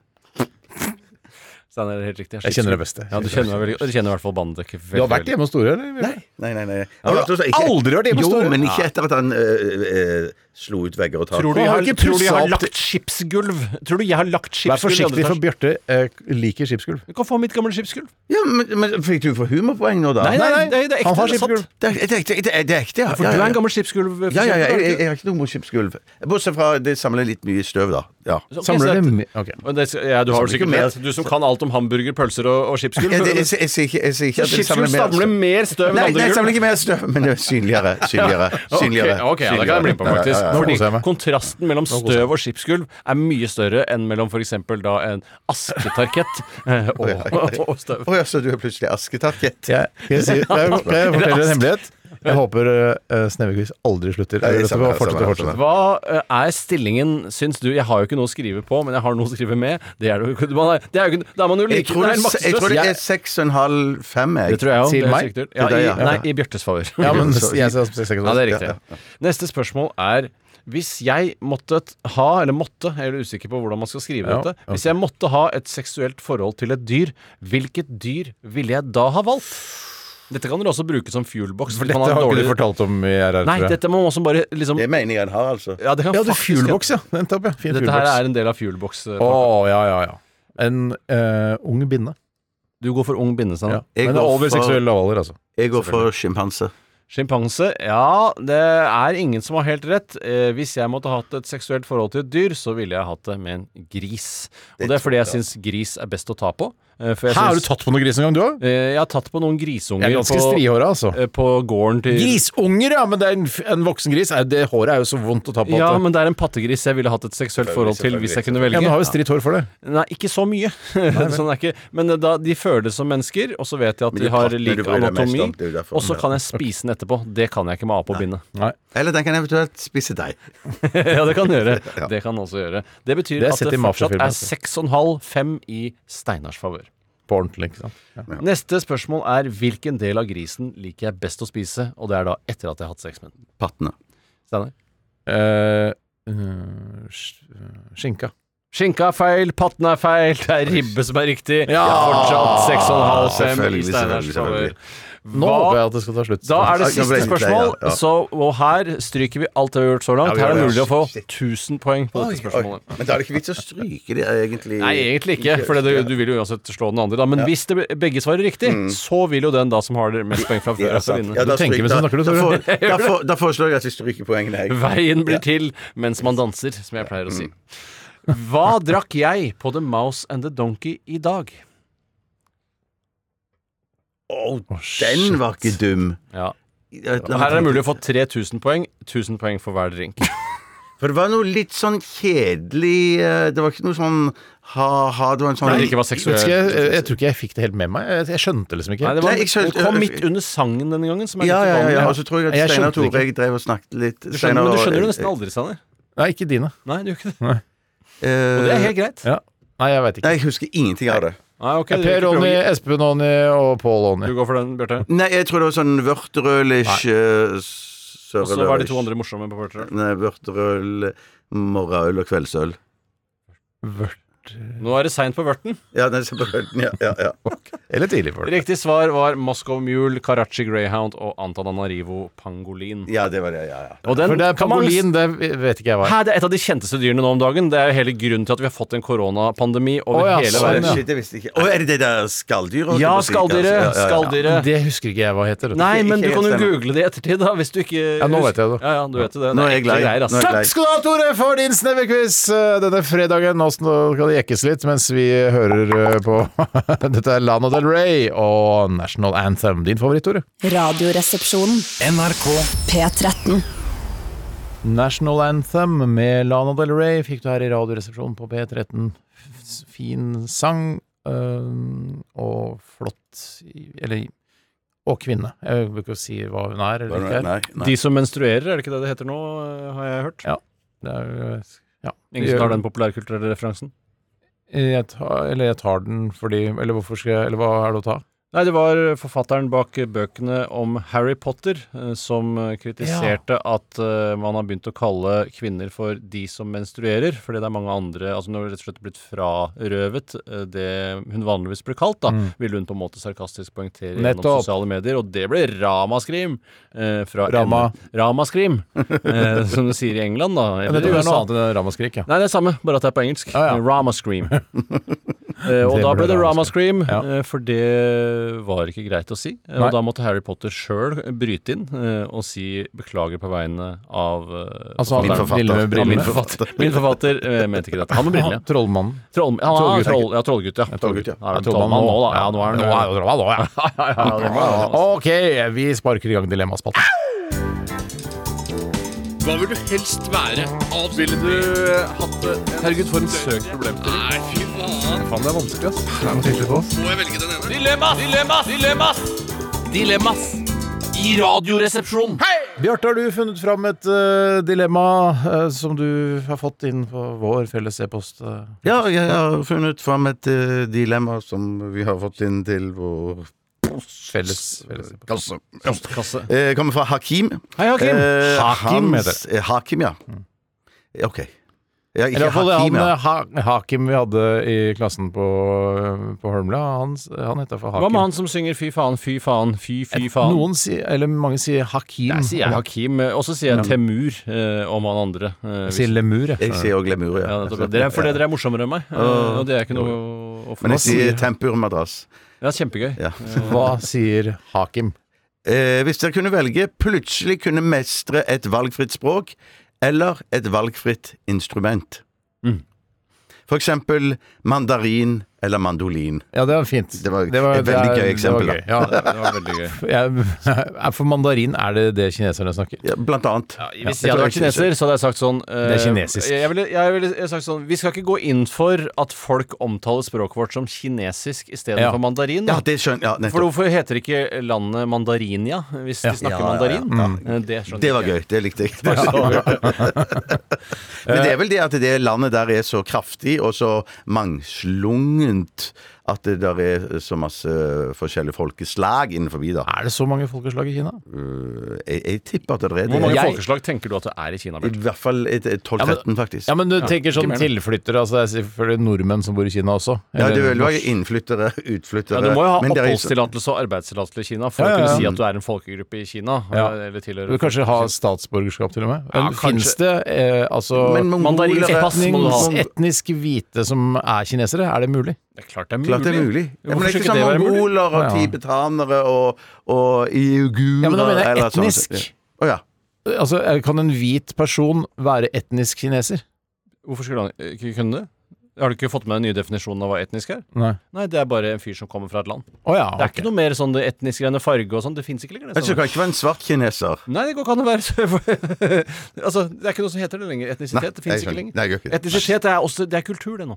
Steinar er helt riktig.
Jeg kjenner det beste.
Ja, du kjenner meg veldig godt. Du kjenner i hvert fall banedekke veldig
Du har vært hjemme hos Store, eller?
Nei, nei, nei. nei.
du har aldri vært hjemme hos
sånn- Jo,
Tore.
men ikke etter at han øh, øh, slo ut vegger og tak.
Tror du,
Å,
jeg
har
har,
ikke
tror du jeg
pussa
har
opp
lagt skipsgulv? Tror du jeg har lagt skipsgulv?
Vær
i
forsiktig,
andre
for
etasje?
Bjarte eh, liker skipsgulv.
Du kan få mitt gamle skipsgulv.
Ja, men, men fikk du for humorpoeng nå, da?
Nei, nei, nei, det er ekte.
han har
det er sant.
skipsgulv.
Det er det er ekte, det er- det er ekte, ja.
For
ja,
du
ja,
er
ja.
en gammel skipsgulv. eh,
Ja, ja, ja, jeg, jeg, jeg har ikke noe motorskipsgulv. Bortsett fra det samler litt mye støv, da. Ja.
Samler du med Ok.
Men det, ja, du har vel
Samler ikke
sikkert
mer.
rett, du som kan alt om hamburger, pølser og, og skipsgulv.
Jeg, jeg, jeg, jeg, sier ikke- jeg sier ikke at det
Skipsgulv
samler mer
samler
støv.
mer støv enn
Nei, nei,
andre
jeg
gulv.
samler ikke mer støv, men det er
<laughs>
synligere. Synligere. synligere,
Ok, ok, ja, det kan jeg bli med på, faktisk.
koser
Ja, ja, ja.
jeg
Fordi
meg.
kontrasten mellom
jeg
støv og skipsgulv er mye større enn mellom f.eks. da en asketarkett
<laughs>
eh, og, og støv.
Å ja, så du er plutselig asketarkett?
<laughs>
Jeg, skal jeg, si, kan jeg, kan jeg fortelle en hemmelighet? Jeg håper uh, Snevekviss aldri slutter.
Nei,
Eller at det
samme her,
fortsetter
samme
og
her,
fortsetter.
Hva eh, er stillingen, syns du? Jeg har jo ikke noe å skrive på, men jeg har noe å skrive med. Det er, det jo ikke- man er, det er jo ikke Da er man jo
Jeg
like det
tror,
er
det, jeg tror
maktesløs.
det
Jeg-
er seks og en halv fem. Jeg.
Det tror jeg òg.
Til meg?
Ja,
Til deg,
i,
ja.
nei, i Bjørtes favør.
Ja,
<laughs>
men jeg ser som
Ja, det er
seksekvist.
riktig. Neste spørsmål er hvis jeg måtte t- ha, eller måtte, jeg er litt usikker på hvordan man skal skrive
Ja,
dette Hvis jeg måtte ha et seksuelt forhold til et dyr, hvilket dyr ville jeg da ha valgt? Dette kan dere også bruke som fuelbox. For
Dette
man
har ikke
dårlig-
du fortalt om i RR,
Nei, dette må man også bare liksom
Det mener jeg han har, altså.
Ja, det kan
Ja, du
faktisk hende.
fuelbox, ja. Nettopp, ja. Fin
Dette her
fuelbox.
er en del av fuelbox. eh,
Å, ja, ja, ja. En eh, ung binne.
Du går for ung bindestang.
Ja.
Ja.
Jeg
Men
går
over
for-
seksuell lavalder, altså.
Jeg går for sjimpanse.
Sjimpanse? Ja, det er ingen som har helt rett. Eh, hvis jeg måtte hatt et seksuelt forhold til et dyr, så ville jeg hatt det med en gris. Og det er fordi jeg syns gris er best å ta på. Eh, for jeg
Hæ, har du
syns-
tatt på noen gris en gang, du òg?
Eh, jeg har tatt på noen grisunger
Jeg er ganske
på,
strihåra, altså.
eh, på gården til
Grisunger, ja! Men det er en, f- en voksen gris. Nei, Det håret er jo så vondt å ta på. at
Ja,
det-
men det er en pattegris jeg ville hatt et seksuelt forhold til hvis jeg kunne velge.
ja, men har jo stritt hår for det.
Nei, ikke så mye. <laughs> sånn er ikke. Men da, de føles som mennesker, og så vet jeg at
Men
de
det
har
partner
lik
du bryr deg mest
anatomi.
om, det er jo derfor.
Og så kan jeg spise den etterpå. Det kan jeg ikke med apebindet.
Nei.
Eller den kan eventuelt spise deg.
<laughs> ja, det kan den
<laughs>
gjøre. Det kan den også gjøre. Det betyr
Det er
at
sett
det
i
fortsatt
mafiafilmer,
er
altså.
6,5-5 i Steinars favør.
På ordentlig, ikke sant. Ja.
Neste spørsmål er hvilken del av grisen liker jeg best å spise, og det er da etter at jeg har hatt sex med den.
Pattene.
Steinar?
Eh, eh, sk- eh, skinka.
Skinka er feil, patten er feil, det er ribbe som er riktig.
Ja,
Fortsatt 6,5-5 i
selvfølgelig,
Steinars favør.
selvfølgelig, selvfølgelig.
Nå
Hva-
håper jeg at det skal ta slutt.
Da er det
Ja,
siste
egentlig,
spørsmål,
ja, ja.
så, og her stryker vi alt det vi har gjort så langt.
vi
Her er det
gjør
mulig å
det.
få 1000 poeng på dette spørsmålet.
Men da er det ikke vits å stryke det, egentlig.
Nei, egentlig ikke, for det, du vil jo uansett slå den andre. Da. Men hvis det, begge svarer riktig, så vil jo den da som har det mest poeng fra før,
Mm. <laughs> Ja,
altså
sant.
vinne.
Ja, da
tenker
stryker-
mens du snakker, du,
da-
<laughs>
Tore.
da får- da får- Da foreslår jeg at vi stryker poengene, jeg.
Veien blir til mens man danser, som jeg pleier å si.
Mm.
Hva drakk jeg på The Mouse and the Donkey i dag?
Den var ikke dum.
Ja.
Ja, la
Her er
meg
det
tenke.
mulig å få 3000 poeng. 1000 poeng for hver drink.
For det var noe litt sånn kjedelig eh, Det var ikke noe sånn ha-ha Det var en sånn
Nei, det ikke var
Jeg,
seksuelt.
husker jeg, jeg, jeg tror ikke jeg fikk det helt med meg. Jeg, jeg skjønte liksom ikke.
Eh, Nei, det,
Nei,
var,
jeg skjønte-
det kom midt under sangen denne gangen, som er litt
ja, ja, ja, ja. altså,
uvanlig.
Og så tror jeg
Jeg
at Steinar og
skjønte det
Tore jeg drev og snakket litt.
Du skjønner, men du skjønner det nesten aldri, Sanner.
Nei, ikke dine.
Nei, du gjør ikke det. Og det er helt greit.
Ja. Nei, jeg veit ikke.
eh, Nei, jeg husker ingenting av det.
Nei, ok, du,
Per
ikke
Ronny,
prøver.
Espen Ronny og Pål Ronny.
du går for den, Bjarte.
Nei, jeg tror det var sånn vørterølish eh,
Og så var de to andre morsomme på Bjarte.
Nei, vørterøl, morraøl og kveldsøl.
Nå er det seint på vørten.
Ja, den ser på røden, ja, ja, ja.
Eller tidlig folk.
Riktig svar var Moscow Mule, Karachi Greyhound og Antananarivo pangolin.
ja, det var det. Ja, ja.
Og den
For det er
kan man-
pangolin, det vet ikke jeg hva er.
Hæ, det er et av de kjenteste dyrene nå om dagen. Det er jo hele grunnen til at vi har fått en koronapandemi over
Å, ja,
hele
sånn,
verden.
ja.
Shit, det visste jeg ikke. Å, er det det der skalldyret?
Ja,
altså. Ja,
skalldyret!
ja, ja.
Skalldyret.
Det husker ikke jeg hva heter. vet du.
Nei, men
ikke
du kan jo
helt ennå.
google det i ettertid, da, hvis du ikke
Ja, nå vet jeg det.
Ja, ja, du vet jo det.
Nå er jeg
ekle
glad.
greier, altså. ass.
Nå er jeg
Takk
glad.
skal du ha, Tore, for din sneverquiz eh, denne fredagen. Nå skal det jekkes litt mens vi hører eh, på <laughs> Dette er Lana Del Rey og National Anthem. Din favoritt, Tore?
Radioresepsjonen.
NRK
P13.
National Anthem med Lana Del Rey fikk du her i Radioresepsjonen på P13. F- Fin sang eh, og flott i- Eller og kvinne. Jeg vil ikke si hva hun er eller ikke er.
Nei, nei.
De som menstruerer, er det ikke det det heter nå, eh, har jeg hørt?
Ja. Det er jo ja. Eh,
Ingen som tar den populærkulturelle referansen?
Jeg tar, eller jeg tar den fordi Eller hvorfor skal jeg Eller hva er det å ta?
Nei, det var forfatteren bak bøkene om Harry Potter eh, som eh, kritiserte at eh, man har begynt å kalle kvinner for de som menstruerer, fordi det er mange andre Altså hun har rett og slett blitt frarøvet eh, det hun vanligvis blir kalt, da, ville hun på en måte sarkastisk poengtere gjennom
Mm. Nettopp.
sosiale medier, og det ble ramaskrim eh, fra
Rama.
Ramaskrim, eh, som de sier i England, da.
Ja, Dette er noe annet enn ramaskrik, ja. <laughs>
Nei, det er samme, bare at det er på engelsk.
Ja, ja.
Rama Scream. Eh, og
Det
da
ble
ble det Rama
Rama
Scream,
Ja.
eh, for det var ikke greit å si. Eh,
Nei.
Og da måtte Harry Potter sjøl bryte inn eh, og si beklager på vegne av eh,
Altså,
forfatteren.
min forfatter. Lille med
Ja,
brillene.
min forfatter, min forfatter eh, mente ikke dette. Han med brillene.
Ah, Trollmannen.
Troll, ja, han er
Trollgutt,
troll, ja, trollgutt, ja.
Trollgutt, ja.
Han er vel trollmann nå, da. Ja, nå er han
Nå er jo trollmann nå, ja. Ok, vi sparker i gang Dilemmaspalten.
eh, Dilemmas! Dilemmas! Dilemmas! i Radioresepsjonen.
Bjarte, har du funnet fram et eh, dilemma eh, som du har fått inn på vår felles e-post? eh?
Ja, jeg har funnet fram et eh, dilemma som vi har fått inn til vår
Felles, felles e-post.
kasse. Ja. Eh, kommer fra Hakim.
Hei, Hakim.
Eh,
Hakim
hans-
heter
eh, Hakim, ja. Eh, Ok. Ja, ikke
Eller i hvert fall
Hakim,
han
ja.
eh, ha Hakim vi hadde i klassen på, eh, på Holmlia. Han, han heter for
Hva
Hakim.
med han som synger fy faen, fy faen, fy fy faen?
Noen sier, eller mange sier Hakim.
Nei, sier jeg Hakim. eh, Og så sier jeg Temur eh, om han andre. Eh,
Jeg
hvis-
sier Lemur, jeg.
Jeg sier òg lemuria.
ja, nettopp. Dere er- for dere er morsommere enn meg, eh,
Øh.
og det er ikke noe å få
Men jeg sier
Det
tempurmadrass.
er kjempegøy.
Ja.
Hva sier Hakim?
Eh, hvis dere kunne velge plutselig kunne mestre et valgfritt språk eller et valgfritt instrument.
Mm.
For eksempel mandarin eller mandolin.
Ja, det var fint.
Det var et veldig gøy eksempel,
det var gøy. Ja.
da.
Det var veldig gøy.
<laughs> Jeg- For mandarin er det det kineserne snakker.
Ja, blant annet.
Hvis jeg hadde vært kineser, så hadde jeg sagt sånn eh,
Det er kinesisk.
Jeg ville, jeg ville sagt sånn Vi skal ikke gå inn for at folk omtaler språket vårt som kinesisk
Ja.
istedenfor mandarin.
Ja,
da.
det skjønner ja,
For
nettopp.
hvorfor heter ikke landet Mandarinia hvis de snakker
Ja, ja, ja.
mandarin? Eh, Det skjønner
Mm. Det var
ikke <laughs> jeg.
gøy. Det likte jeg. <laughs> Men det er vel det at det landet der er så kraftig og så mangslungent at det der er så masse forskjellige folkeslag innenfor, da.
Er det så mange folkeslag i Kina?
Jeg, jeg tipper at det er det.
Hvor mange
Jeg-
folkeslag tenker du at det er i Kina?
I
Bjørn?
hvert fall et- et 12-13, faktisk.
Ja, men du
ikke
tenker sånn
mer nå.
tilflyttere, altså det er selvfølgelig nordmenn som bor i Kina også.
Ja, det
Eller-
vil være innflyttere, utflyttere
Ja, du må jo ha
men det er så-
oppholdstillatelse og arbeidstillatelse i Kina for
Ja, ja,
å
ja.
kunne si at du er en folkegruppe i Kina.
Ja.
eh, Eller tilhører
Du vil kanskje ha statsborgerskap til og med?
Ja,
Ja, Fins det eh, altså
Men mongoler-
Mandarinsk pass må du ha.
etnisk, etnisk hvite som er kinesere? Er det mulig?
Det er klart det er mulig.
Klart det er mulig. Ja, men
Hvorfor
det er
skulle
ikke sånn
det være mulig?
mongoler og
Ja.
tibetanere og, og uigurer
Ja, men da mener jeg
eller sånn.
etnisk.
Å ja.
Altså, Kan en hvit person være etnisk kineser?
Hvorfor skulle han eh, ikke kunne det? Har du ikke fått med den nye definisjonen av hva etnisk er?
Nei.
Nei, det er bare en fyr som kommer fra et land.
Å ja.
Ah,
Det er
ok.
ikke noe mer sånn det etnisk greiene farge og sånn. Det fins ikke lenger.
Men
Det,
så
sånn.
kan det ikke være en svart kineser.
Nei, det går ikke an å være så- <laughs> Altså, det er ikke noe som heter det lenger. Etnisitet.
Nei,
det fins ikke
jeg skjønner.
lenger.
Nei, jeg gjør ikke det.
Etnisitet er, også, det er kultur, det nå.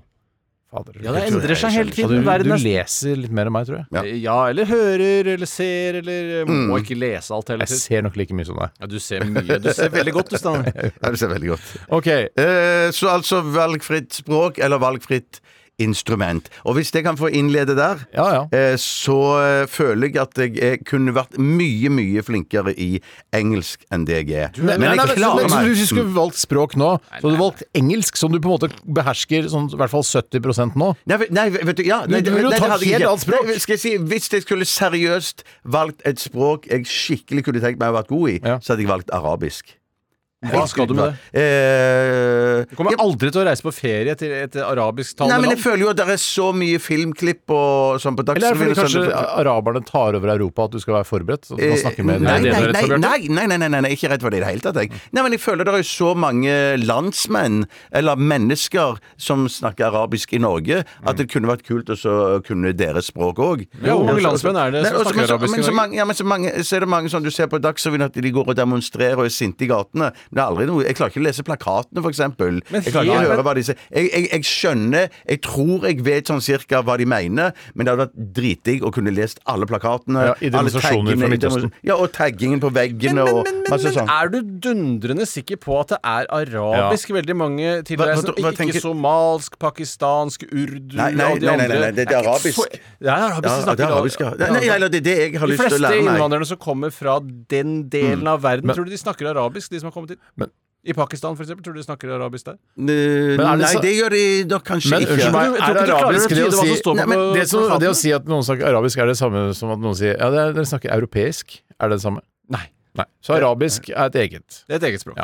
Fader,
Ja, det
Kultur,
endrer seg
jeg Altså,
hele
Ja,
tiden.
du,
Verden
du
er
leser litt mer enn meg, tror jeg.
Ja. Mm.
Ja, eller hører, eller ser, eller eh, Må ikke lese alt hele
Jeg
tiden.
ser nok like mye som deg.
Ja, du ser mye. Du ser veldig godt, du, Stanley.
<laughs> <laughs> Ja, det ser veldig godt.
Ok,
Eh, så altså valgfritt språk eller valgfritt instrument. Og hvis jeg kan få innlede der
ja ja.
eh, så eh, føler jeg at jeg er, kunne vært mye, mye flinkere i engelsk enn det jeg er. Men
Nei, nei,
jeg
men- men-
klarer
så
meg.
Hvis du skulle valgt språk nå, så hadde du valgt engelsk, som du på en måte behersker sånn, i hvert fall 70 nå.
Nei, vet- nei, vet du, ja,
Du-
nei,
du
det-
vil jo
nei,
ta
det hadde jeg
helt
ikke.
annet språk.
Nei, skal jeg si, hvis jeg skulle seriøst valgt et språk jeg skikkelig kunne tenkt meg å vært god i,
Ja.
så hadde jeg valgt arabisk.
Hva skal du med det?
Eh,
Du kommer
ja,
aldri til å reise på ferie til et
Nei,
arabisktalende
men jeg
land.
føler jo at det er så mye filmklipp og sånn på
Eller er det
Dagsrevyen
fordi
og sånn-
kanskje araberne tar over Europa at du skal være forberedt? Så du kan snakke med
Eh, nei,
Er det
nei,
det du er redd for,
nei,
Bjarte?
nei, nei, nei, nei, nei, nei, ikke redd for det i det hele tatt. Jeg. Nei, men jeg føler det er jo så mange landsmenn, eller mennesker, som snakker arabisk i Norge, at det kunne vært kult å så kunne deres språk òg.
Ja, hvor mange landsmenn er det som snakker arabisk i
Men, så,
Norge?
mange, ja, men så, mange, så er det mange som du ser på Dagsrevyen, at de går og demonstrerer og er sinte i gatene. Men det er aldri noe Jeg klarer ikke å lese plakatene, for eksempel.
Men
Jeg klarer ikke å
helt-
høre hva de sier. Jeg, jeg, jeg skjønner, jeg tror jeg vet sånn cirka hva de mener, men det hadde vært dritdigg å kunne lest alle plakatene.
Ja, i demonstrasjoner
Alle taggene
fra
i
Midtøsten.
demons- Ja, og taggingen på veggene og masse sånn.
er du dundrende sikker på at det er arabisk veldig mange tilreisende?
Hva- hva- hva
Ikke
tenker-
somalsk, sånn pakistansk, urdu
Nei, nei,
og de
nei, nei,
andre?
nei, det- det er
ikke
arabisk.
så- Det er arabisk. de
Ja,
snakker
det er arabisk, ja.
arabisk.
Nei, eller det er det jeg har
De
lyst til å
fleste
lære meg.
innvandrerne som kommer fra den delen av verden, tror du de snakker arabisk, de som har kommet hit?
Men-
I Pakistan, for eksempel, tror du de snakker arabisk der?
Eh,
Men er det
Nei,
så-
det gjør de nok kanskje
Men unnskyld
Jeg
meg,
ikke.
tror
er
ikke
det
du klarer å
arabisk det
tyde
å
hva
si
som står på-
Nei, men det, som,
plakaten.
det å si at noen snakker arabisk, er det samme som at noen sier Ja, det er- dere snakker europeisk. Er det det samme?
Nei.
Nei. Så arabisk er et eget.
Det er et eget språk.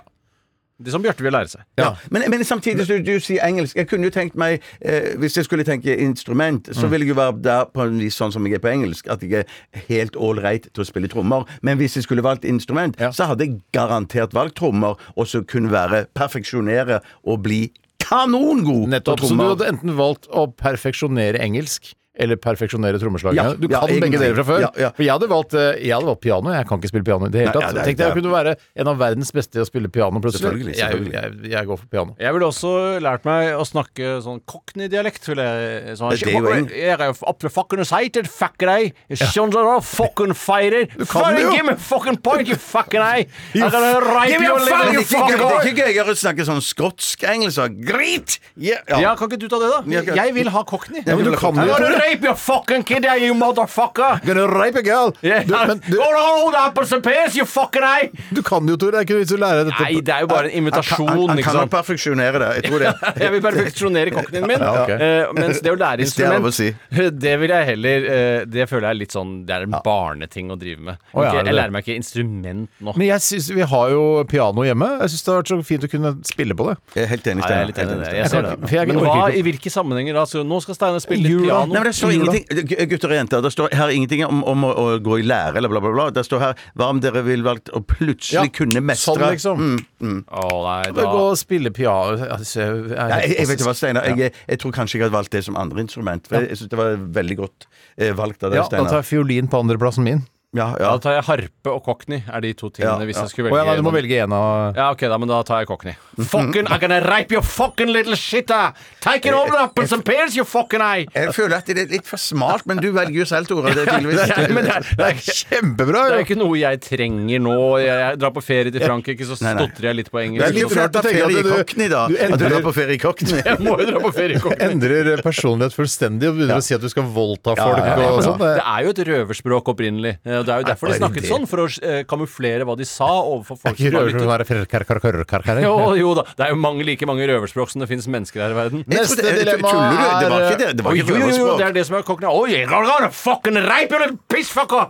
Det som Bjarte vil lære seg.
Ja. Men, men samtidig som du, du sier engelsk Jeg kunne jo tenkt meg, eh, hvis jeg skulle tenke instrument,
Mm.
så ville jeg jo være der på en vis sånn som jeg er på engelsk, at jeg er helt ålreit til å spille trommer. Men hvis jeg skulle valgt instrument,
Ja.
så hadde jeg garantert valgt trommer, og så kunne være perfeksjonere og bli kanongod på
Nettopp. Så du
trommer.
hadde enten valgt å perfeksjonere engelsk eller perfeksjonere trommeslagene.
Ja,
du
ja,
kan begge
egentlig.
deler fra før.
Ja, ja.
For jeg hadde, valgt, eh, jeg hadde valgt piano. Jeg kan ikke spille piano i det hele
Nei,
tatt.
ja, det er-
Tenkte jeg
det er-
kunne være en av verdens beste i å spille piano plutselig.
Selvfølgelig, selvfølgelig.
Jeg, jeg, jeg går for piano.
Jeg ville også lært meg å snakke sånn cockney-dialekt. ville jeg- Sånn,
Det er jo en-
Jeg er jo oppe fucking sighted, fuck deg. Skjønner du, fucking fighter.
kan det jo.
Give me fucking point, you fucking eye. I'm gonna rape
Men
you little
det er ikke gøy-
fucking
det
boy.
er ikke gøyere å snakke sånn skotsk-engelsk og grit! Ja,
Ja, kan ikke du ta det,
Ja,
da?
ok.
Jeg vil ha cockney.
Ja, men du kan jo
I'm
ikke
gonna
det.
rape your fucking kid, you motherfucker.
Gonna rape a girl!
Yeah.
Du, men du,
Go roll the apples and pears, you fucking eye.
du kan jo, Tore. Det er ikke noe vits i å lære dette.
Nei, det er jo bare en
Han, han,
invitasjon,
han
ikke
kan nok
sant.
perfeksjonere det. Jeg tror
<laughs>
det.
Jeg vil perfeksjonere cockneyen min.
Ja, ok.
eh, mens det å lære
Hvis det er
instrument, <laughs>
lov å
det vil jeg heller eh, Det føler jeg er litt sånn Det er en barneting å drive med.
Å,
Ikke-
ja, er
jeg
det det?
lærer meg ikke instrument nå.
Men jeg synes, vi har jo piano hjemme. Jeg syns det har vært så fint å kunne spille på det.
Jeg er helt enig,
Nei, jeg er
Steinar.
litt enig i det. Jeg
Helt enig, Steinar.
ser
Jeg
det.
orker
Men
ikke.
hva, i hvilke sammenhenger da? Så nå skal Steinar spille litt
Jula.
piano.
Nei, men Det står
Jula.
ingenting gu- Gutter og jenter, det står her ingenting om, om å, å gå i lære eller bla, bla, bla. Det står her hva om dere vil valgt å plutselig kunne mestre Mm.
Sånn, liksom.
Å, nei,
Bare gå
da.
og spille piano altså, jeg,
Nei, jeg, jeg vet ikke hva, Steinar.
Ja.
Jeg, jeg tror kanskje jeg hadde valgt det som andre instrument. For Jeg syns det var veldig godt eh, valgt av deg,
Ja, da tar
Steinar.
jeg fiolin på andreplassen min.
Ja, ja.
Da tar jeg harpe og cockney, er de to tingene,
Ja,
hvis
ja.
jeg skulle
Å
velge.
ja, nei, du må
noen.
velge en av
Ja, ok, da, men da tar jeg cockney. Fucking, I'm gonna rape your fucking little shit, ah. Take it over, apples and pears, you fucking eye!
Jeg føler at det er litt for smalt, men du velger jo selv, Tore. Det er
Nei, men det er-
tydeligvis
det er ikke-
Kjempebra!
Det er
jo.
jo ikke noe jeg trenger nå. Jeg, jeg drar på ferie til Frankrike, så
Nei, nei.
stotrer jeg litt på
Det er
engelsk.
litt rart å
å tenke
ferie i
at du-
Cockney, da.
du
At du
endrer-
drar på ferie i Cockney.
Jeg må jo dra på
<laughs>
ferie.
Du
kongen.
endrer personlighet fullstendig og begynner å si at du skal voldta folk
ja, ja,
og
ja.
sånn.
Det er jo et røverspråk opprinnelig. Eh, Det er jo derfor de
er det
snakket
det?
sånn, for å eh, kamuflere hva de sa overfor folk som
Ikke
var
rører
litt
være ferkarkarkarkarkar.
jo, jo da, det er jo mange, like mange røverspråk som det finnes mennesker her i verden.
Jeg
Neste
trodde- jeg-
dilemma
Tuller du? Det var
er-
ikke det. Det
Oi,
var
jo,
ikke
jo, jo, det
røverspråk.
er det som er cockney. Oh, yeah, I'm gonna fucking rape you, little pissfucker!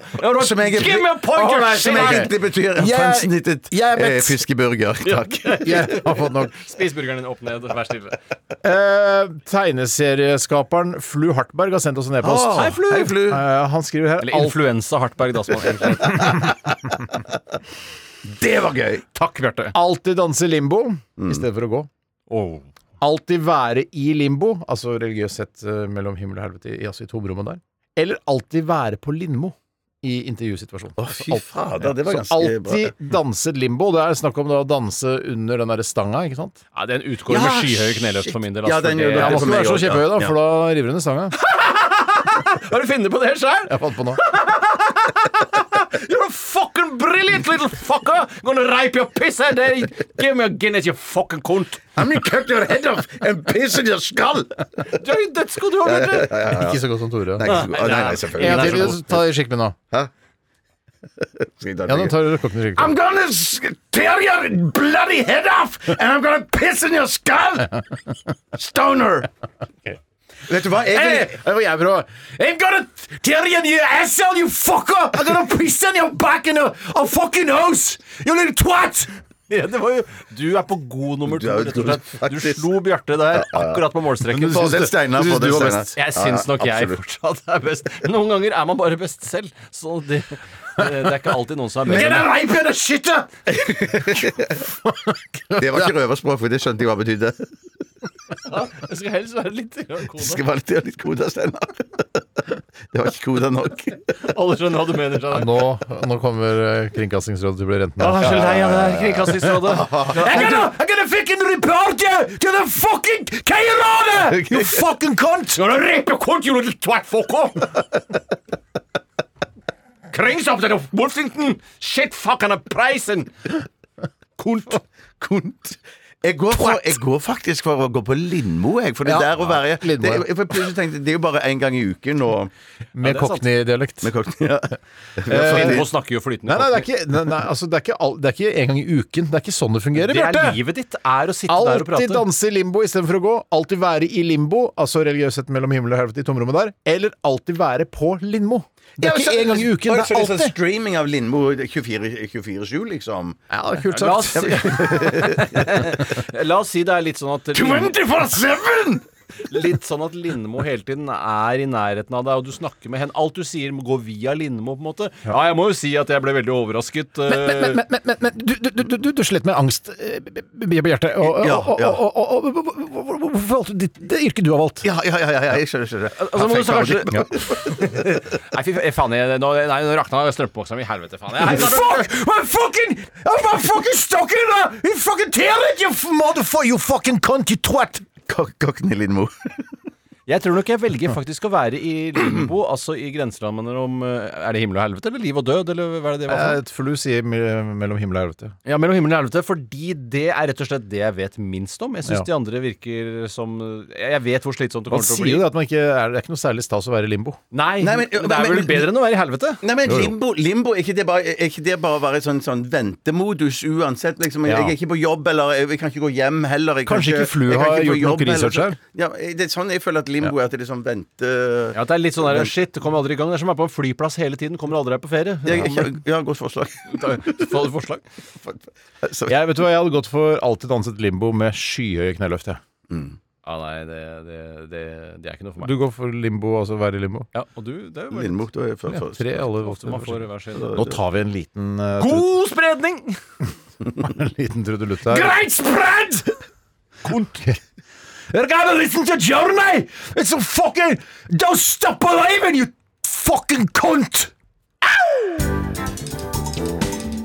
Som egentlig-
Give me a point, you
Alright,
Som
shit!
egentlig betyr
Jeg-
fansnittet
jeg er
eh,
mett.
fiskeburger. Takk.
Jeg har fått nok.
Spis burgeren din opp ned, vær stille.
Eh, tegneserieskaperen Flu Hartberg har sendt oss en e-post.
Åh, Hei, Flu. hei, Flu.
Eh, han skriver her
Eller influensa Hartberg, da. Som han <laughs> egentlig-
Det var gøy!
Takk, Bjarte.
alltid danse limbo
Mm.
i stedet for å gå.
Oh.
Alltid være i limbo, altså religiøst sett eh, mellom himmel og helvete, i- altså i tomrommet der. Eller alltid være på Lindmo i intervjusituasjonen. Altså,
Å, fy fader, det var
Så
ganske
alltid danse et limbo. Det er snakk om da å danse under den derre stanga, ikke sant?
Ja, den utgår med skyhøye kneløft for min del.
Ja,
altså,
den
for
gjør
det,
det.
Jeg må
for
ikke
meg
være så
også, ja.
kjepphøy, da,
Ja.
for da river hun i stanga.
Har du funnet på det sjøl?
Jeg fant på noe.
You're a fucking brilliant little fucker! Gonna rape your piss and then give me a Guinness, you fucking cunt!
I'm gonna cut your head off and piss in your skull!
Du er jo dødsgod, du òg, Bjarte!
Ikke så godt som Tore.
Nei, ikke så god. Å, nei, nei,
En gang
selvfølgelig.
til, ta skikk med nå.
Skal jeg ta
Ja, nå
det?
tar du kokken i skikk.
I'm gonna s- tear your bloody head off and I'm gonna piss in your skull! Stoner! Vet du hva? Jeg vil,
Det var jeg, bror.
I'm gonna tear you in your asshole, you fucker! I'm gonna piss on your back and a, a fucking nose! You little twat! Ja, det var jo, du er på god nummer to,
Du er jo
rett og slett. Du
faktisk-
slo Bjarte der akkurat på målstreken.
Få den Steinar,
du
få
syns
den
du var
Steinar.
best.
Jeg syns nok
Ja, ja,
jeg
absolutt.
fortsatt er best. Noen ganger er man bare best selv, så det, det er ikke alltid noen som er bedre.
Det var ikke røverspråk, for det skjønte jeg hva betydde.
Jeg skal helst være litt kode.
Skal bare gjøre litt koda, Steinar. Det var ikke koda nok.
Alle skjønner hva du mener. Skjønner.
Nå, nå kommer eh, Kringkastingsrådet til å bli rent ned.
Jeg er så lei av det her <laughs> Kringkastingsrådet. I'm gonna, I'm gonna fucking report you to the fucking K-rådet! <laughs> You fucking cunt! You're a rape, you cunt, you little twatfucker! Krings up to Wolfington! Shit fucking a prisen! Kunt.
Kont. Jeg går, for, jeg går faktisk for å gå på Lindmo, jeg. For det
Ja,
der å være
Lindmo,
det,
ja.
jeg, for plutselig tenkte, jeg, det er jo bare én gang i uken nå.
Med
det er sant.
cockney-dialekt.
Med kokt, ja.
Eh, Nå snakker jo flytende
Nei, nei, det er ikke, nei, nei altså, det er ikke, all, det er ikke en gang i uken. Det er ikke sånn det fungerer,
Det er
Bjarte.
livet ditt, er å sitte der og
Alltid
prate.
danse i limbo istedenfor å gå. Alltid være i limbo, altså religiøst sett mellom himmel og helvete i tomrommet der. Eller alltid være på Lindmo. Det er ikke en gang i uken, det er
alltid. Sånn
alltid.
streaming av Lindmo 24-7, liksom.
Ja, det er kult
La oss, <laughs>
sagt.
si- La oss si det er litt sånn at
24-7!
Litt sånn at Lindmo hele tiden er i nærheten av deg, og du snakker med henne. Alt du sier, må gå via Lindmo, på en måte. Ja, jeg må jo si at jeg ble veldig overrasket.
Men, men, men, men, men, men du, du, du, du, du slet med angst, eh, Bjarte. Og,
Ja,
og,
ja.
og, og, og, og, og- hvorfor valgte du ditt- det yrket du har valgt?
Ja, ja, ja, ja, ja, jeg skjønner, skjønner.
Altså, må du så
Perfekt
kanskje-
øyeblikk.
<laughs> Nei, fy fa- faen, jeg, nå, nei, nå rakna strømpeboksa mi. Helvete, faen. <laughs> Jeg,
Fuck! I'm fucking, I'm a fucking stuck in a You fucking tear it, you motherfucker, you fucking cunt, you twat!
Kok- Kokken i Lindmo.
jeg tror nok jeg velger faktisk å være i limbo, <clears throat> altså i grenselandet mellom eh, Er det himmel og helvete, eller liv og død, eller hva er det det var? for noe?
For du sier mellom himmel og helvete.
Eh, Ja, mellom himmel og helvete, fordi det er rett og slett det jeg vet minst om. Jeg syns
Ja.
de andre virker som eh, Jeg vet hvor slitsomt det
Man
kommer til å
sier
bli.
jo det at man ikke er, det er ikke noe særlig stas å være i limbo.
Nei,
Nei,
men,
men-
det er
men-
vel
men-
bedre enn å være i helvete?
Nei, men
Jo, jo.
limbo, limbo er ikke det bare, er ikke det bare å være i sånn, sånn ventemodus uansett? Liksom, jeg,
Ja.
jeg er ikke på jobb, eller jeg, jeg kan ikke gå hjem heller. Jeg kan
Kanskje ikke Flu
jeg kan
har
ikke på
gjort nok
jobb, eller
research
så-
her?
Ja, det er sånn jeg føler at limbo er at det er sånn vente...
Ja, det er litt sånn der, shit, det kommer aldri i gang. Det er som å være på en flyplass hele tiden, kommer aldri deg på ferie.
Jeg, jeg, jeg, ja, godt forslag. <laughs>
<laughs> Får du forslag?
Så-
Jeg, vet du hva, jeg hadde gått for alltid danset limbo med skyhøye kneløft. Jeg.
Ja, nei, det, det, det, det er ikke noe for meg.
Du går for limbo, altså være i limbo?
ja, og du, det er jo bare
Lindmo, da er jeg før- først.
Tre, alle
ofte man får hver sin.
Nå tar vi en liten eh,
God spredning!
trud- en liten trudelutt her.
Great spread!
Kunt. <laughs> You gotta listen to Journey! It's a fucking Don't stop believing, you fucking cunt!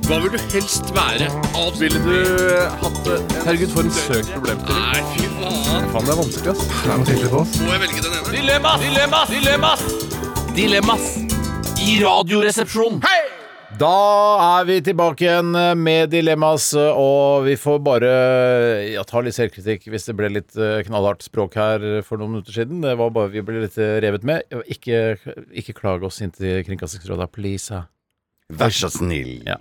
Hva vil du helst være? Ville du hatt det?
Herregud, for en søk problemstilling.
Nei, fy faen.
Faen, det er vanskelig, ass. Det er noe tydelig på oss.
Må jeg velge den ene?
Dilemmas! Dilemmas! Dilemmas! Dilemmas i Radioresepsjonen.
Da er vi tilbake igjen med Dilemmas, og vi får bare ja, ta litt selvkritikk hvis det ble litt eh, knallhardt språk her for noen minutter siden. Det var bare vi ble litt eh, revet med. Ikke, ikke klag oss inn til Kringkastingsrådet, please. ja.
Vær så snill.
Ja.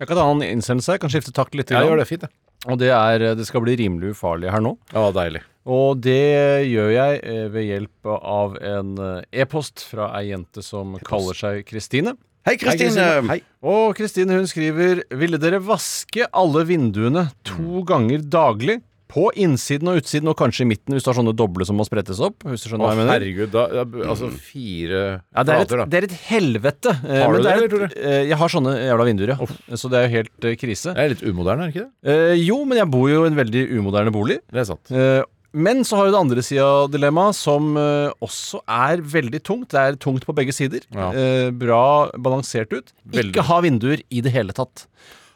Jeg kan ta en innsendelse, jeg kan skifte takt litt.
Ja,
grann.
gjør det fint, det.
Og det, er, eh, det skal bli rimelig ufarlig her nå.
Ja, deilig.
Og det gjør jeg eh, ved hjelp av en eh, e-post fra ei jente som kaller seg Kristine.
Hei, Kristine.
Hei.
Og Kristine hun skriver Ville dere vaske alle vinduene
Mm.
to ganger daglig? På innsiden og utsiden, og kanskje i midten hvis du har sånne doble som må sprettes opp. Hvis du skjønner
Å,
hva jeg mener
herregud, da, ja, b- altså fire
ja, det, er et,
flater, da.
det er et helvete. eh,
Har
men
du
er
det,
et-
eller, Tore?
eh, Jeg har sånne jævla vinduer, ja. Så det er jo helt eh, krise.
Det er litt umoderne, er det ikke det?
Eh, jo, men jeg bor jo i en veldig umoderne bolig.
Det er sant.
Eh, Men så har du det andre sida av dilemmaet, som eh, også er veldig tungt. Det er tungt på begge sider.
Ja.
Eh, Bra balansert ut.
Veldig.
Ikke ha vinduer i det hele tatt.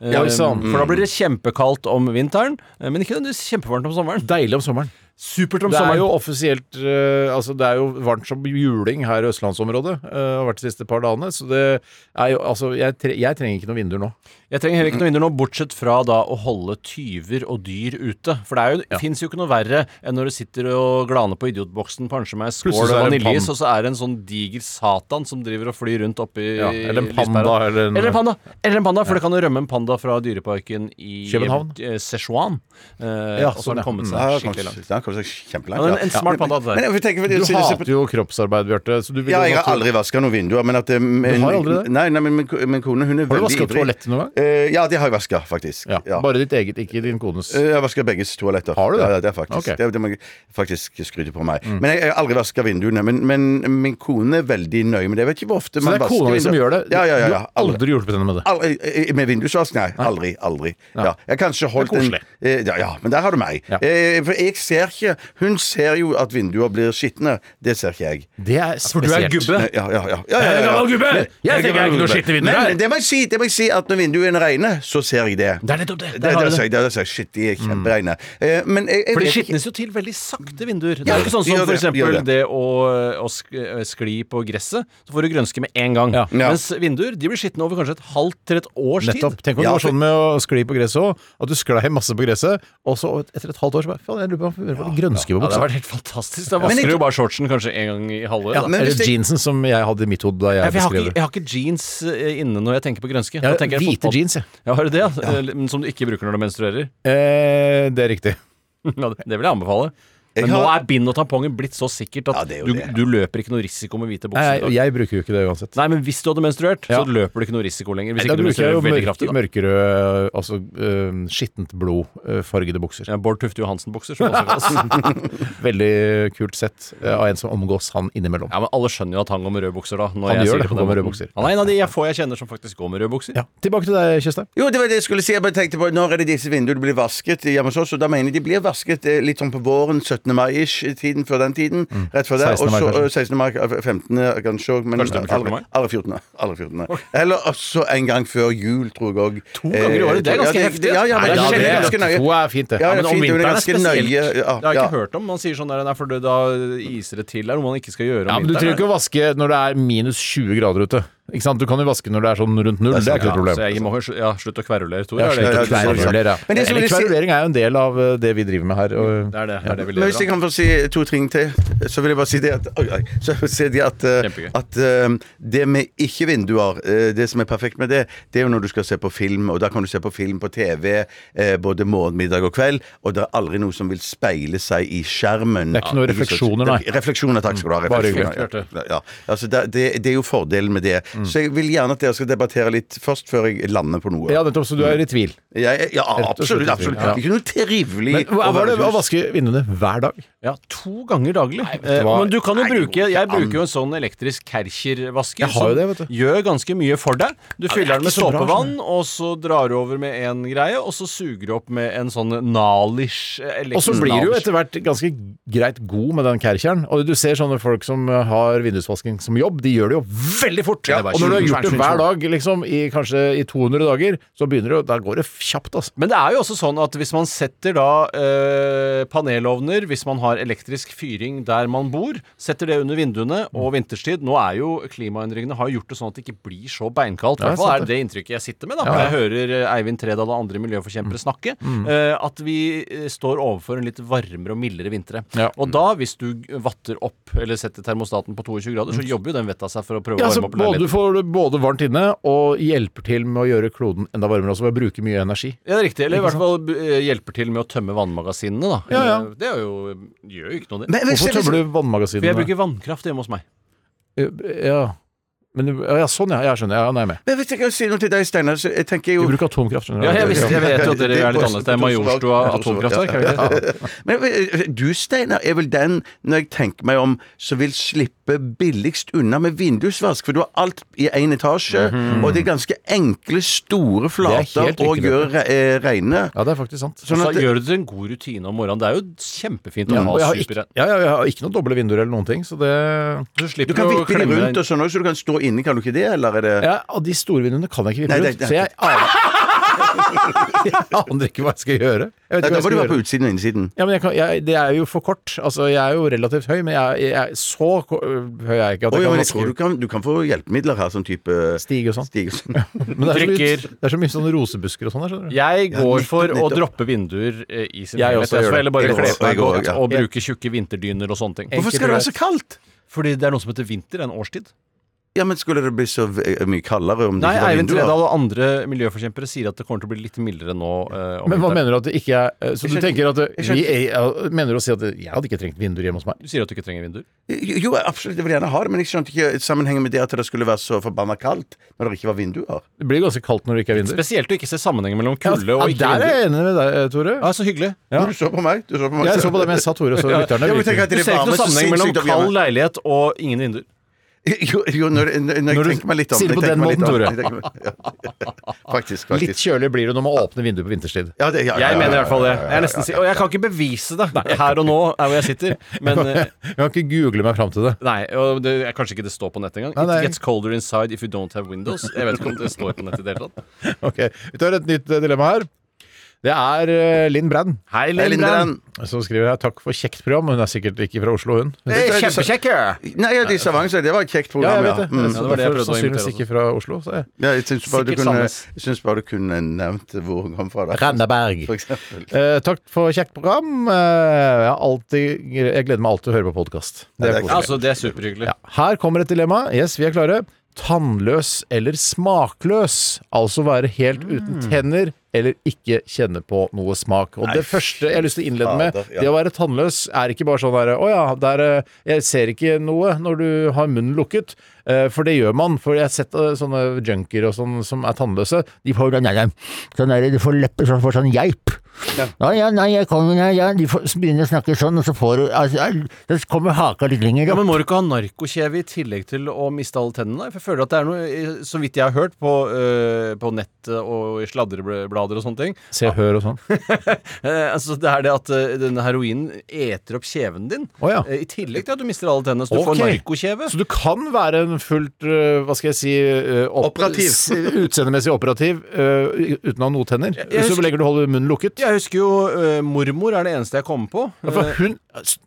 Eh,
Ja, sant.
For da blir det kjempekaldt om vinteren, eh, men ikke nødvendigvis kjempevarmt om sommeren.
Deilig om sommeren.
Supert om
Det er
sommeren.
jo offisielt eh, Altså, det er jo varmt som juling her i østlandsområdet. eh, har vært de siste par dagene. Så det er jo Altså, jeg, tre, jeg trenger ikke noen vinduer nå.
Jeg trenger heller ikke noe vinduer nå, bortsett fra da å holde tyver og dyr ute. For det er jo, fins jo ikke noe verre enn når du sitter og glaner på idiotboksen, puncher meg en
Plutselig
skål
så er det en
vaniljeis,
pam.
og så er det en sånn diger satan som driver og flyr rundt oppi
Ja, eller en panda,
lyspæra.
eller en-
Eller en panda! Eller en panda, for det kan jo rømme en panda fra dyreparken i
København.
eh, Sichuan. Eh,
Ja,
og så har
sånn, ja.
den kommet
Mm.
seg
Ja,
skikkelig
kanskje-
langt.
ja, kanskje
Ja,
kjempelangt. Ja,
men en smart
Men-
panda, det der.
men jeg får tenke, for
Du
det- synes jeg-
hater jo kroppsarbeid, Bjarte. Så du vil
Ja,
jo
jeg har
at-
aldri vaska noen vinduer. Men at, eh, men,
har aldri det?
Nei, nei, men min, ko- min kone hun er
Har du
veldig
vasket toalettet noen gang?
Eh, ja, det har jeg vaska, faktisk.
Ja,
Ja.
Bare ditt eget, ikke din kones.
Eh, Jeg har vaska begges toaletter.
Har du det?
Ja, Ja, det er faktisk
Ok. Mm.
det, det må jeg faktisk skryte på meg. Men jeg jeg har aldri vaska vinduene. Men, men min kone er veldig nøye med det. Jeg vet ikke hvor ofte
så det
man
er
vasker
kona di som
vinduer.
gjør det?
Ja, ja, ja, ja.
Du har aldri hjulpet henne med det?
Aldri- eh, Med vindusvask? Nei, aldri. aldri. Ja. Jeg har kanskje holdt
Det er koselig.
en eh, ja, ja, men der har du meg.
Ja.
Eh, For jeg ser ikke Hun ser jo at vinduer blir skitne. Det ser ikke jeg.
Det er Altså, spesielt.
For du er gubbe.
Nei, Ja, ja, ja. ja, ja, ja, ja.
gubbe! Jeg tenker ikke noe skitt i vinduet
Men det må, jeg si, det må jeg si at når vinduene regner, så ser jeg det.
Det er nettopp det.
Det,
Der har du
det,
det. Mm.
sier jeg- det, sier jeg, shit, de er kjempereine. Eh, Men jeg, jeg
For det
vet ikke-
skitnes jo til veldig sakte vinduer. Det
Ja,
er jo ikke sånn som for
gjør det,
eksempel
gjør
det,
det.
å, å sk- eh, skli på gresset. Så får du grønske med en gang.
Ja.
Mens vinduer de blir skitne over kanskje et halvt til et års
Nettopp.
tid.
Tenk om
Ja,
det var
for-
sånn med å skli på gresset òg, at du sklei masse på gresset, og så etter et halvt år så bare Faen, jeg lurer på om det var litt grønske
Ja,
på
det
buksa.
har vært helt fantastisk. Da
Men
vasker
ikke-
du jo bare shortsen kanskje en gang i halvåret.
Ja,
da.
men
eller
hvis det-
jeansen som jeg hadde i mitt hode da
Nei,
jeg
for jeg, har
beskrev
ikke,
det.
jeg har ikke jeans eh, inne når jeg tenker på grønske. Da
Jeg
tenker jeg
har hvite
fotball.
jeans, jeg.
Ja, har du det? ja? Eh, Som du ikke bruker når du menstruerer?
Eh, det er riktig.
Ja, Det det vil jeg anbefale.
Jeg
Men nå
har-
er bind og tamponger blitt så sikkert
Ja,
at
det er
du,
jo det.
du løper ikke noe risiko med hvite bukser. i
Jeg,
dag.
jeg bruker jo ikke det uansett.
Nei, men hvis du hadde menstruert,
Ja.
så løper du ikke noe risiko lenger. Hvis
Da
ikke du
bruker jeg
menstruerer
jo
veldig
mørk,
kraftig, da.
mørkere, altså eh, skittent blod, eh, fargede bukser.
Ja, Bård Tufte Johansen-bukser. som også
<laughs>
kalles.
Veldig kult sett eh, av en som omgås han innimellom.
Ja, men alle skjønner jo at han går med røde bukser, da. Når
Han
jeg
gjør
sier
det,
på
han
den
går med
måten.
røde bukser.
Han er en av de jeg få jeg kjenner som faktisk går med røde bukser.
Ja. Tilbake til deg, Tjøstheim.
Jo, det var det jeg skulle si. Jeg bare tenkte på Når er det disse vinduene blir vasket hjemme hos oss? Og da mener jeg de blir vasket eh, litt sånn på våren, 17. mai-ish, tiden før den tiden.
Mm.
Rett før det.
16.
Og
mai,
så
kanskje.
eh, 16. mai, eh, 15. kanskje òg. Men
Kanskje det blir 14. mai?
aller 14. Aller 14. Eller også en gang før jul, tror jeg òg.
To ganger i året, det er ganske heftig.
Ja, ja,
Nei,
men
da,
det skjer
det-
ganske nøye.
To er fint, det.
Ja,
Ja,
ja,
men
fint, det er ganske nøye. Ja,
det har jeg
ja.
ikke hørt om. Man sier sånn der, nei, for det- da iser det til. Det er noe man ikke skal gjøre om
Ja, men Du trenger ikke å vaske når det er minus 20 grader ute. Ikke sant? Du kan jo vaske når det er sånn rundt null. Det er ikke
ja,
noe problem.
Så jeg må jo sl- ja, slutt å kverulere, Tor.
Ja,
er det
slutt å
ikke du sa?
kverulere, ja.
Men det som
Eller
vil si-
kverulering er jo en del av eh, det vi driver med her. Og,
Det er det, det, er det vi
Men hvis jeg
lever av.
kan få si to ting til, så vil jeg bare si det at, oi, oi, så vil jeg si det, at,
Kjempegøy.
eh, at eh, det med ikke-vinduer, eh, det som er perfekt med det, det er jo når du skal se på film, og da kan du se på film på TV eh, både morgen, middag og kveld, og det er aldri noe som vil speile seg i skjermen.
Det er ikke noen
så-
refleksjoner, nei. Mm.
Det er- Refleksjoner, takk skal du ha.
Bare
refleksjoner,
hyggelig.
ja. Ja, altså det, det, det er jo fordelen med det.
Mm.
Så jeg vil gjerne at dere skal debattere litt først, før jeg lander på noe.
ja, nettopp, så du er i tvil.
Jeg- ja
Rett og slett
absolutt. absolutt.
tvil, ja.
Ikke noe trivelig
Men hva var det å vaske vinduene hver dag?
Ja, to ganger daglig.
du
Eh,
hva?
men du kan jo
Nei, det går
bruker,
ikke
jeg bruker
an.
jo en sånn elektrisk Kercher-vasker.
Jeg har jo det, vet du.
Gjør ganske mye for deg. Du fyller den med
ikke så bra,
såpevann, og så drar du over med en greie, og så suger du opp med en sånn Nalish eh,
Og så
elektrisk
blir du jo
Nalish.
etter hvert ganske greit god med den kærkjernen. Og du ser sånne folk som eh, har vindusvasking som jobb, de gjør det jo veldig fort.
Ja,
og når du har gjort det hver dag, liksom, i kanskje i 200 dager, så begynner det, jo- da går det kjapt, altså.
Men det er jo også sånn at hvis man setter da eh, panelovner, hvis man har elektrisk fyring der man bor, setter det under vinduene
Mm.
og vinterstid Nå er jo klimaendringene har jo gjort det sånn at det ikke blir så beinkaldt. I
Ja,
hvert fall
sant
er det det inntrykket jeg sitter med, da. Når jeg hører eh, Eivind Tredal og andre
Mm.
miljøforkjempere snakke. eh, at vi eh, står overfor en litt varmere og mildere vintre.
Ja.
Og da, hvis du vatter opp eller setter termostaten på 22 grader, så jobber jo den vetta seg for å prøve
Mm. Ja,
å
så
varme opp leiligheten.
både får du både varmt inne og hjelper til med å gjøre kloden enda varmere også ved å bruke mye energi.
Ja, det er riktig. Eller i hvert fall eh, hjelper til med å tømme vannmagasinene, da.
Ja, ja.
Eh, Det er jo, gjør jo ikke noe, det.
Men hvis-
Hvorfor
hvis-
tømmer du
For jeg
vannmagasinene?
bruker vannkraft hjemme hos meg.
Ja, men, ja, sånn ja, jeg skjønner. Ja, nei, jeg er med.
Men hvis jeg kan si noe til deg, Steinar, så jeg tenker jo
Du bruker atomkraft, skjønner du.
Ja, jeg visste jeg vet jo at dere er litt annerledes. Det er Majorstua atomkraftverk, er det ikke det?
<laughs> Men eh, du, Steinar, er vel den, når jeg tenker meg om, som vil slippe billigst unna med vindusvask, for du har alt i én etasje, og det er ganske enkle, store
Mhm.
flater
helt
å
riktig,
gjøre re- eh, reine.
Ja, det er faktisk sant.
Sånn
Så
at det-
gjør du til en god rutine om morgenen. Det er jo kjempefint å
Ja, og
ha
jeg har ikke,
superrenn.
ja, ja, jeg har ikke noe doble vinduer eller noen ting, så det
Du
Du
slipper
kan
å
vippe de
klemme
rundt
deg
og sånn òg, så du kan stå inne, kan du ikke det, eller er det
ja, Av de store vinduene kan jeg ikke
Nei,
vippe
det-
rundt,
det-
så jeg aner <laughs> Jeg aner ikke hva jeg skal gjøre. Jeg vet ikke
Nei,
hva jeg
Da må du
skal
være på
gjøre.
utsiden og innsiden.
Ja, men jeg kan, jeg, det er jo for kort. Altså, jeg er jo relativt høy, men jeg, jeg, så ko- høy er jeg ikke at
Å,
jeg kan
ja, men jeg tror
vaske
du kan, du kan få hjelpemidler her, sånn type
stige og sånn.
Stig og sånn.
Men det er, så mye,
Drikker.
det er så mye sånne rosebusker og sånn der, skjønner du.
jeg går for å
nettopp.
droppe vinduer eh, i sin
Jeg
helhet.
også gjør
Jeg får
det.
heller bare kle
Jeg går-
på meg
jeg går,
godt
ja.
og bruke tjukke vinterdyner og sånne ting.
Enkelt
Hvorfor skal det
og
være så kaldt?
Fordi det er noe som heter vinter, en årstid.
Ja, men skulle det bli så v- eh, mye kaldere om det
Nei,
ikke var
Eivind
vinduer?
Tredal og andre miljøforkjempere sier at det kommer til å bli litt mildere nå. eh, om
Men hva
vinteren.
mener du at det ikke er eh, Så du
Jeg
tenker
skjønner-
at eh,
jeg
vi
skjønner-
er, ja, Mener du å si at eh, jeg hadde ikke trengt vinduer hjemme hos meg?
Du sier at du ikke trenger vinduer.
Jo, jo, absolutt, jeg vil gjerne ha det, men jeg skjønte ikke sammenhengen med det at det skulle være så forbanna kaldt når det ikke var vinduer.
Det blir ganske kaldt når det ikke er vinduer.
Spesielt å ikke se sammenhengen mellom kulde og ikke
ja, der er
vinduer.
jeg enig med deg, eh, Tore.
Ja, så hyggelig.
Ja.
Du så på meg. Du så på meg.
Jeg så på det, men jeg sa Tore, så lytterne
Ja, men
virker-
tenk at
Du
det
ser ikke
varmer
noen
så
sammenheng mellom
sinnssykt opp
kald
hjemme.
leilighet og ingen vinduer.
<laughs> Jo, jo når, når, når
Når
jeg
du
tenker meg litt om
sier det på
jeg tenker
den
meg litt
måten,
om-
Tore.
<laughs> jeg tenker meg- <laughs> ja. Faktisk,
Litt
faktisk.
kjølig blir det når man åpner vinduet på <laughs> vinterstid.
Ja, det, ja, ja,
Jeg
ja,
mener i
ja.
hvert fall det. Jeg er nesten si, og jeg kan ikke bevise det her og nå, er hvor jeg sitter.
<laughs>
Men eh,
Jeg kan ikke google meg fram til det. <laughs>
nei, og det, jeg, kanskje ikke det står på nettet engang.
Nei, nei.
It gets colder inside if you don't have windows. Jeg vet ikke om det står på nettet i det hele tatt.
Ok, Vi tar et nytt eh, dilemma her. Det er eh, Linn Brann
Hei,
Hei, Lindran.
som skriver her. Takk for kjekt program. Hun er sikkert ikke fra Oslo, hun. Ja,
Kjempekjekk!
Nei, ja, det er Stavanger, så det var et
jeg
kjekt program, ja.
vet det.
Mm.
Så
det var det jeg prøvde å
derfor
altså.
Sannsynligvis
imitere
ikke fra Oslo. Så jeg.
ja jeg syns bare, du
Sikkert
kunne-
Sandnes.
jeg syns bare du kunne nevnt hvor hun kom fra. da.
Randaberg.
For eksempel.
Eh, takk for kjekt program. Eh, jeg, har alltid, jeg gleder meg alltid til å høre på podkast. Det er
det er
koselig.
Altså, det er superhyggelig.
Ja. Her kommer et dilemma. Yes, vi er
Mm.
klare. Tannløs eller smakløs? Altså være helt uten tenner eller ikke kjenne på noe smak. Og det første jeg har lyst til å innlede med,
fader, ja.
det å være tannløs er ikke bare sånn der Å ja, der, eh, jeg ser ikke noe når du har munnen lukket. Eh, For det gjør man. For jeg har sett eh, sånne junkier og sånn som er tannløse. De får nei, nei, sånn der, de får lepper sånn, får sånn geip. Ja, ja, nei, jeg kommer, ja, ja. De får, begynner å snakke sånn, og så får du altså, Så kommer haka litt lenger
Ja,
opp.
men Må du ikke ha narkokjeve i tillegg til å miste alle tennene? For jeg føler at det er noe, eh, Så vidt jeg har hørt på, eh, på nett og i sladreblader og sånne ting
Se og hør og sånn.
eh, altså Det er det at eh, denne heroinen eter opp kjeven din.
Å ja.
eh, I tillegg til at du mister alle tennene. Så du får
Ok.
narkokjeve.
Så du kan være en fullt øh, Hva skal jeg si øh, opp-
Operativ.
s- Utseendemessig operativ øh, uten å ha noe tenner.
jeg
Så
husker-
legger du holder munnen lukket.
Jeg husker jo eh, mormor er det eneste jeg kommer på.
Ja, For hun,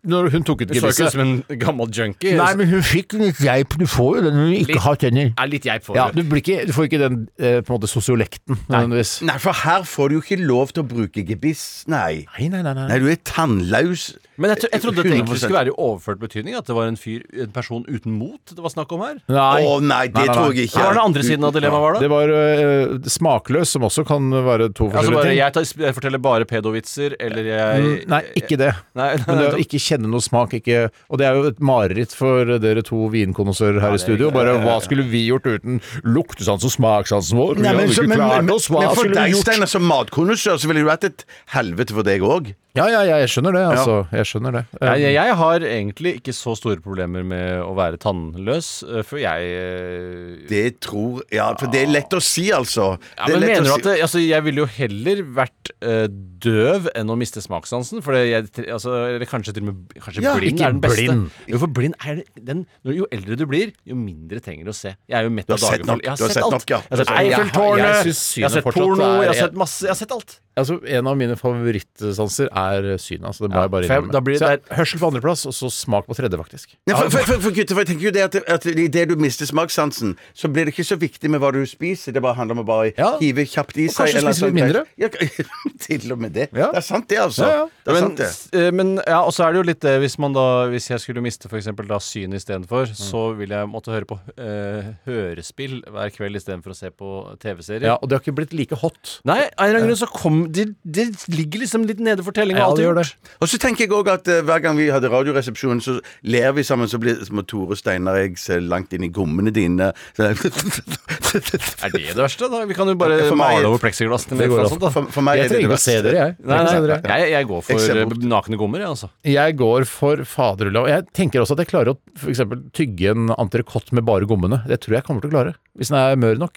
når hun tok ut
Du så ikke ut
gebisset
som en gammel junkie.
men hun fikk litt geip. Du får jo den når du
Litt.
har tenner.
er litt jeg på
Ja, du, blir ikke, du får ikke den eh, på en måte sosiolekten, nødvendigvis.
Nei, for her får du jo ikke lov til å bruke gebiss, nei.
Nei, nei, nei. nei.
Nei, du er tannlaus.
Men jeg, tro- jeg trodde dette egentlig
100%.
skulle være i overført betydning. At det var en fyr, en person uten mot det var snakk om her.
Å
Nei.
nei, det
Nei, nei,
tror
nei.
jeg ikke.
Hva var den andre siden av dilemmaet var, da?
Det var øh, smakløs, som også kan være to
Altså
forskjellige
bare,
ting.
jeg, tar, jeg forteller bare pedovitser, eller jeg
Mm, Nei, ikke det.
Nei, nei,
Men det å
nei,
ikke kjenne noe smak ikke, Og det er jo et mareritt for dere to vinkonnoissører her i studio. Bare hva skulle vi gjort uten luktesans og smakssansen vår? Vi
Nei, men,
hadde
så,
ikke
men, men,
klart oss. Hva
men for
skulle
deg,
vi gjort?
Steinar, som matkondisør, så ville det vært et helvete for deg òg.
Ja, ja, ja, jeg skjønner det, altså. Jeg skjønner det. Um,
jeg, jeg, jeg har egentlig ikke så store problemer med å være tannløs, eh, for jeg eh,
Det tror Ja, for det er lett å si, altså.
ja,
Det er
men
lett å
mener du
si.
at det, altså, Jeg ville jo heller vært eh, døv enn å miste smakssansen. For det jeg, tre- altså, eller kanskje til og med kanskje
Ja,
blind
ikke
er den beste.
blind.
Jo, for blind er den, når, jo eldre du blir, jo mindre trenger du å se. Jeg er jo mett
Du
av
har sett
dager. Jeg
nok. Du har
har
sett
sett alt.
nok, ja.
Jeg har sett
Jeg- jeg- jeg
Eiffeltårnet,
synes synet
jeg har sett
fortsatt
porno,
er-
jeg har sett masse, jeg har sett alt.
altså, en av mine favorittsanser er synet. Altså, det må
Ja,
jeg bare
for jeg-
innrømme.
da blir det-
Så jeg- Hørsel på andreplass, og så smak på tredje, faktisk.
Nei, for, for, for, for gutter, for jeg tenker jo det at, at idet du mister smakssansen, så blir det ikke så viktig med hva du spiser. Det bare handler om å bare
Ja.
hive kjapt i
Og
seg.
kanskje
eller
spise litt
sånn.
mindre.
Ja, <laughs> k- til og med det.
Ja.
Det er sant, det, altså.
Ja, ja.
Det er
men,
sant, det.
s- eh, men ja, og så er det jo litt det hvis man da Hvis jeg skulle miste f.eks. synet
Mm.
istedenfor, så ville jeg måtte høre på eh, hørespill hver kveld istedenfor å se på TV-serier.
Ja, og det har ikke blitt like hot.
Nei, av en eller annen grunn så kom Det de ligger liksom litt nede for tellinga.
Ja,
alt
det
jeg har
gjør
gjort.
Og så tenker jeg òg at eh, hver gang vi hadde Radioresepsjonen, så ler vi sammen, så blir som Tore Steinar og jeg ser langt inn i gommene dine. Så,
Er det det verste? da? Vi kan jo bare
Ja, for meg-
male over plexiglassene.
Det
eller
går
noe
an.
sånt, da.
for, for meg
Jeg
er det
trenger
det
ikke å se
verste.
dere, jeg.
Nei,
Trenger ikke å
nei,
se dere.
jeg, jeg går
Jeg
for
ser
eh,
bort.
nakne gommer, jeg, altså.
Jeg går for faderullan. Jeg tenker også at jeg klarer å for eksempel tygge en entrecôte med bare gommene. Det tror jeg kommer til å klare, hvis den er mør nok.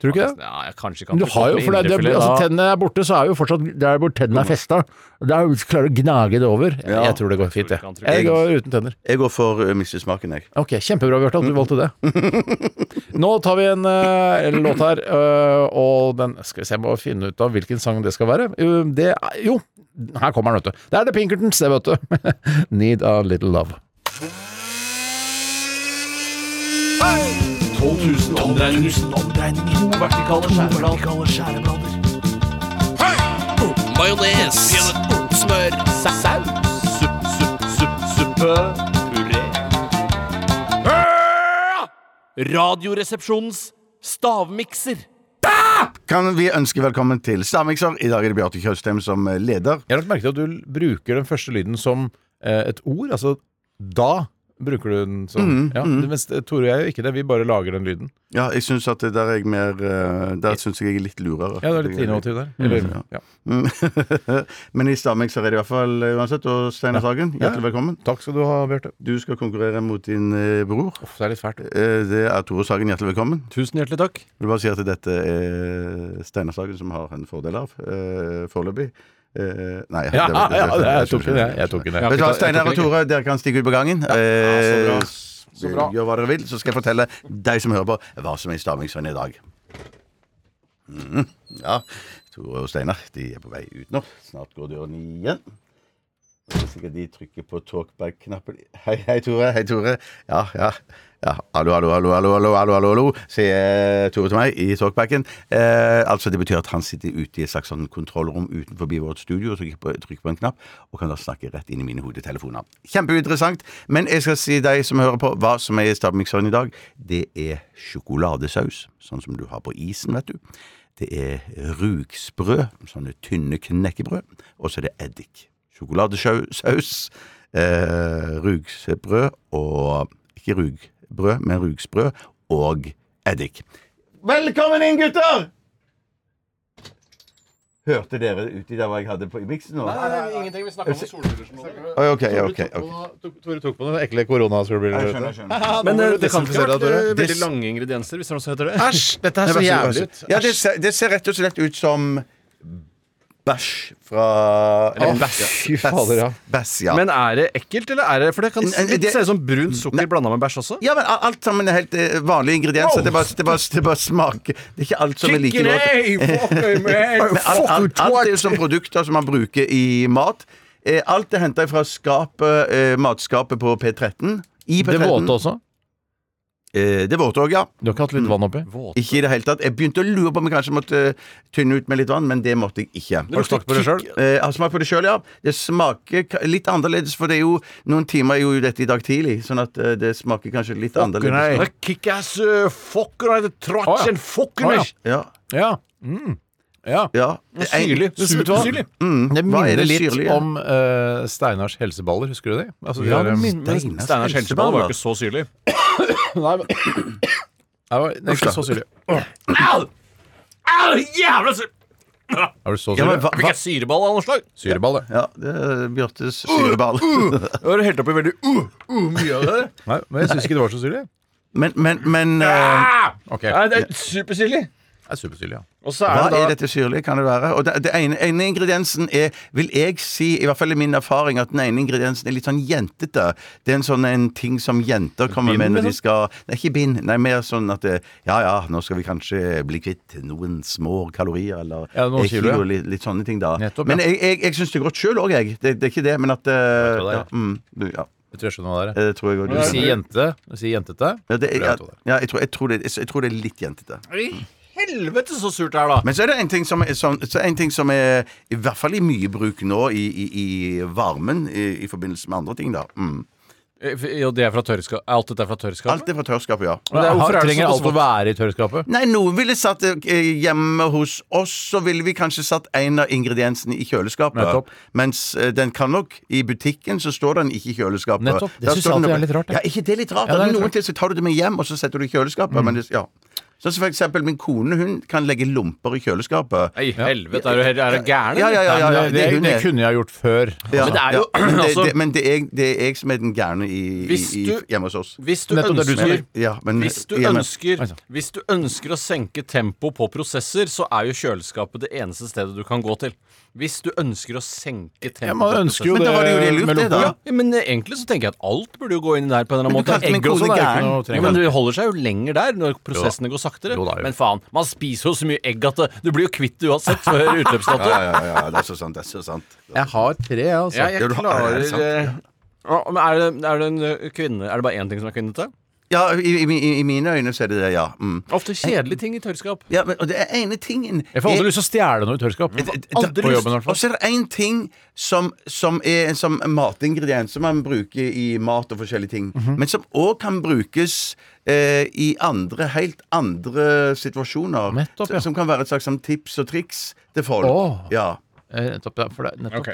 Tror du ikke det?
Ja, jeg kanskje ikke sånn
Men du har jo, for det, det, altså, Tennene er borte, så er jo fortsatt der hvor tennene er
Mm.
festa. Da klarer du å gnage det over. Jeg,
Ja.
jeg tror det går
Tror
fint, jeg.
ikke han
Jeg
tror
går uten tenner.
<laughs> Jeg går for uh, miste smaken, jeg.
Ok, Kjempebra, Bjarte, at du valgte
<laughs>
det. Nå tar vi en eh, en låt her, eh, og den Skal vi se, jeg må finne ut av hvilken sang det skal være. Jo, Det er, jo, her kommer den, vet du. Det er The Pinkertons, det, vet du. <laughs> Need a little love.
12 000 omdreininger. To vertikale skjæreblader. Majones. Smør. Saus. Supp, supp, supp, suppe. Puré.
Radioresepsjonens stavmikser.
Kan vi ønske velkommen til Stamikser. I dag er det Bjarte Tjøstheim som eh, leder.
Jeg har lagt merke til at du bruker den første lyden som eh, et ord. Altså da bruker du den som ja, Mens eh, Tore og jeg gjør ikke det. Vi bare lager den lyden.
Ja, jeg syns at det der er jeg mer eh, Der syns jeg jeg er litt lurere.
Ja, du er litt innovativ der. Eller, ja.
Mm. <laughs> Men i Stamikser er det i hvert fall eh, uansett. Og Steinar Sagen, hjertelig velkommen.
Takk skal du ha, Bjarte.
Du skal konkurrere mot din eh, bror.
Uff, det er litt fælt.
Eh, Det er Tore Sagen, hjertelig velkommen.
Tusen hjertelig takk.
Jeg vil bare si at dette er Steinar Sagen som har en fordel av, eh, foreløpig. Eh, nei,
<laughs> Ja,
det var-
ja, det er- jeg tok den, jeg. Jeg tok den, jeg.
Vet du hva, Steinar og Tore, dere kan stikke ut på gangen. Eh,
Så bra.
Gjør hva dere vil, så skal jeg fortelle deg som hører på, hva som er i Stavingsvann i dag. Mhm. ja, Tore og Steinar, de er på vei ut nå. Snart går døren igjen. Hvis ikke de trykker på talkback-knappen Hei, hei, Tore. Hei, Tore. Ja, ja. Ja, hallo, hallo, hallo, hallo, hallo, hallo, hallo, hallo sier eh, Tore til meg i talkbacken. Eh, altså, det betyr at han sitter ute i et slags sånn kontrollrom utenfor vårt studio og trykker på, trykker på en knapp, og kan da snakke rett inn i mine hodetelefoner. Kjempeinteressant, men jeg skal si deg som hører på, hva som er i stabmikseren i dag. Det er sjokoladesaus, sånn som du har på isen, vet du. Det er rugsprø, sånne tynne knekkebrød, og så er det eddik. Sjokoladesaus, eh, rugsbrød og Ikke rugbrød, men rugsprø og eddik. Velkommen inn, gutter! Hørte dere uti der hva jeg hadde på, i miksen nå?
Ingenting. Vi snakker om solbriller som holder.
Oi, ok, ok, ok.
Tore tok på noen ekle koronasolbriller.
Jeg skjønner, jeg skjønner.
Men eh, det kan ikke ha vært eh, veldig
Dis-
lange ingredienser, hvis det er noe som heter det.
Æsj! Dette er så jævlig ut.
Ja, det, ser, det ser rett og slett ut som bæsj fra
Å,
eller
fy fader, ja.
Bæsj, ja.
Men er det ekkelt, eller er det For det kan
Nei,
litt
det-
se ut som sånn brunt sukker blanda med bæsj også.
Ja, men a- alt sammen er helt eh, vanlige ingredienser. Det, bare, det, bare, det bare smaker Det er ikke alt som er like godt.
<laughs>
Men alt, alt, alt er jo som produkter som man bruker i mat. Eh, Alt er henta fra skapet, eh, matskapet på P13. I P13.
Det våte også.
Eh, det våte òg, ja.
Du har ikke hatt litt vann
Mm.
oppi?
Ikke i det hele tatt. Jeg begynte å lure på om jeg kanskje måtte eh, tynne ut med litt vann, men det måtte jeg ikke.
Har du smakt på det selv?
Eh, jeg har smakt på det sjøl, ja. Det smaker ka- litt annerledes, for det er jo noen timer er jo dette i dag tidlig, sånn at eh, det smaker kanskje litt annerledes.
nei.
Det er Kickass uh, fucker
Å,
og det er
ja.
trotchen
Å,
fucker
ja.
meg.
Ja,
Ja. Mm. Ja.
ja.
Syrlig.
Vet
Det
du
smakte
hva?
syrlig.
Det
Hva er
minner
det
litt
syrlige?
om eh, Steinars helseballer, husker du det? Altså, de
Ja,
der, eh,
men men
Steinars
Steinars helseball var jo
helseball,
ikke så syrlig.
Nei, men Nei, det var ikke så syrlig.
Au! Au, jævla syr...
Er du så
Ja, men
syrlig?
hva,
Fikk
hva?
jeg syreball av noe slag?
Syreball, det.
ja det er Bjørtes
Uh,
syreball. <laughs>
Jeg har helt oppi veldig uh, uh, mye av det.
Nei, men <laughs> jeg syns ikke det var så syrlig.
Men, men, men eh,
Ok,
Nei,
det
det er supersyrlig.
er supersyrlig, ja.
Og så
Hva
er det
er
da
dette syrlige, kan det være? Og det, det ene, ene ingrediensen er, vil jeg si, i hvert fall i min erfaring, at den ene ingrediensen er litt sånn jentete. Det er en sånn en ting som jenter kommer med når de skal Nei, ikke bind. Nei, mer sånn at det, ja ja, nå skal vi kanskje bli kvitt noen små kalorier, eller
Ja, noen
eh,
kilo, ja.
litt, litt sånne ting, da.
Nettopp, ja.
Men jeg, jeg, jeg syns det er godt sjøl òg, jeg. Det, det er ikke det, men at eh,
hva det er.
ja, mm, du- ja, Eh,
Jeg tror jeg skjønner hva det er.
det tror jeg òg du
Du sier jente, du sier jentete.
Ja, det,
Jeg
ja,
vet hva det
ja, jeg, tror, jeg, tror det, jeg, tror det er litt jentete.
Helvete, så surt det er, da.
Men så er det en ting som er, sånn, så er en ting som er i hvert fall i mye bruk nå i, i, i varmen i, i forbindelse med andre ting, da. Mm.
Og Eh, det er fra tørrskap. Alt dette er fra tørrskap?
Alt er fra tørrskapet, ja.
Men det er,
Hvorfor er det
trenger
så
alt å være i tørrskapet?
Nei, noen ville satt eh, hjemme hos oss, så ville vi kanskje satt en av ingrediensene i kjøleskapet.
Nettopp.
Mens eh, den kan nok I butikken så står den ikke i kjøleskapet.
Nettopp. Det
Der
synes
står
jeg alltid
den
er
oppe-
litt rart, det.
Ja, ikke det er litt rart?
Ja, det er
Men
litt
noen
rart. Mm.
til så tar du det med hjem, og så setter du det i kjøleskapet. Men det, ja. Sånn som for eksempel min kone, hun kan legge lomper i kjøleskapet.
Nei, helvete, er du, er du gæren?
Ja, ja, ja, ja, ja,
Nei, det,
er hun
det
er.
kunne jeg gjort før.
Ja,
Men det er jo-
ja, men, det,
altså-
det, men det, er, det er jeg som er den gærne i, i,
Hvis
i,
du-
hjemme hos oss.
Hvis du
Nettopp det du
ønsker
sier.
Ja, men,
Hvis du,
ja, men-
ønsker,
Oi, sant.
hvis du ønsker å senke tempo på prosesser, så er jo kjøleskapet det eneste stedet du kan gå til. Hvis du ønsker å senke tempo
Ja, man
på
ønsker jo
Men
det,
da var det jo det lurt,
med
det,
lompe.
da.
ja, men eh, egentlig så tenker jeg at alt burde jo gå inn der på en eller annen
Men du
måte.
kalte min
Egg også,
kone
det er jo
gæren.
ikke noe-
trenger
Jo, men du holder seg jo lenger der når prosessene går saktere.
Jo da, jo.
Men faen, man spiser jo så mye egg at det- du blir jo kvitt det uansett før utløpsdato.
Ja, ja, ja, ja, det er så sant. Det er så sant.
Jeg har tre, jeg, altså.
Ja, jeg
Ja, du har- ja,
klarer eh,
det er sant, ja.
Ja, men er det, er det en ø, kvinne Er det bare én ting som er kvinnete?
Ja, i, i, i, i mine øyne så er det det, ja. Mm.
Ofte kjedelige ting i tørrskap.
ja men, og det er ene tingen
Jeg får aldri lyst til å stjele noe i tørrskap.
Aldri
på
lyst.
jobben, i hvert
Og
fall.
så er det én ting som, som er en sånn matingrediens som man bruker i mat og forskjellige ting, men som òg kan brukes eh, i andre, helt andre situasjoner.
Nettopp, ja.
Som kan være et slags sånn tips og triks til folk.
Åh.
Ja.
Eh, Nettopp, ja, for det, er nettopp.
Ok,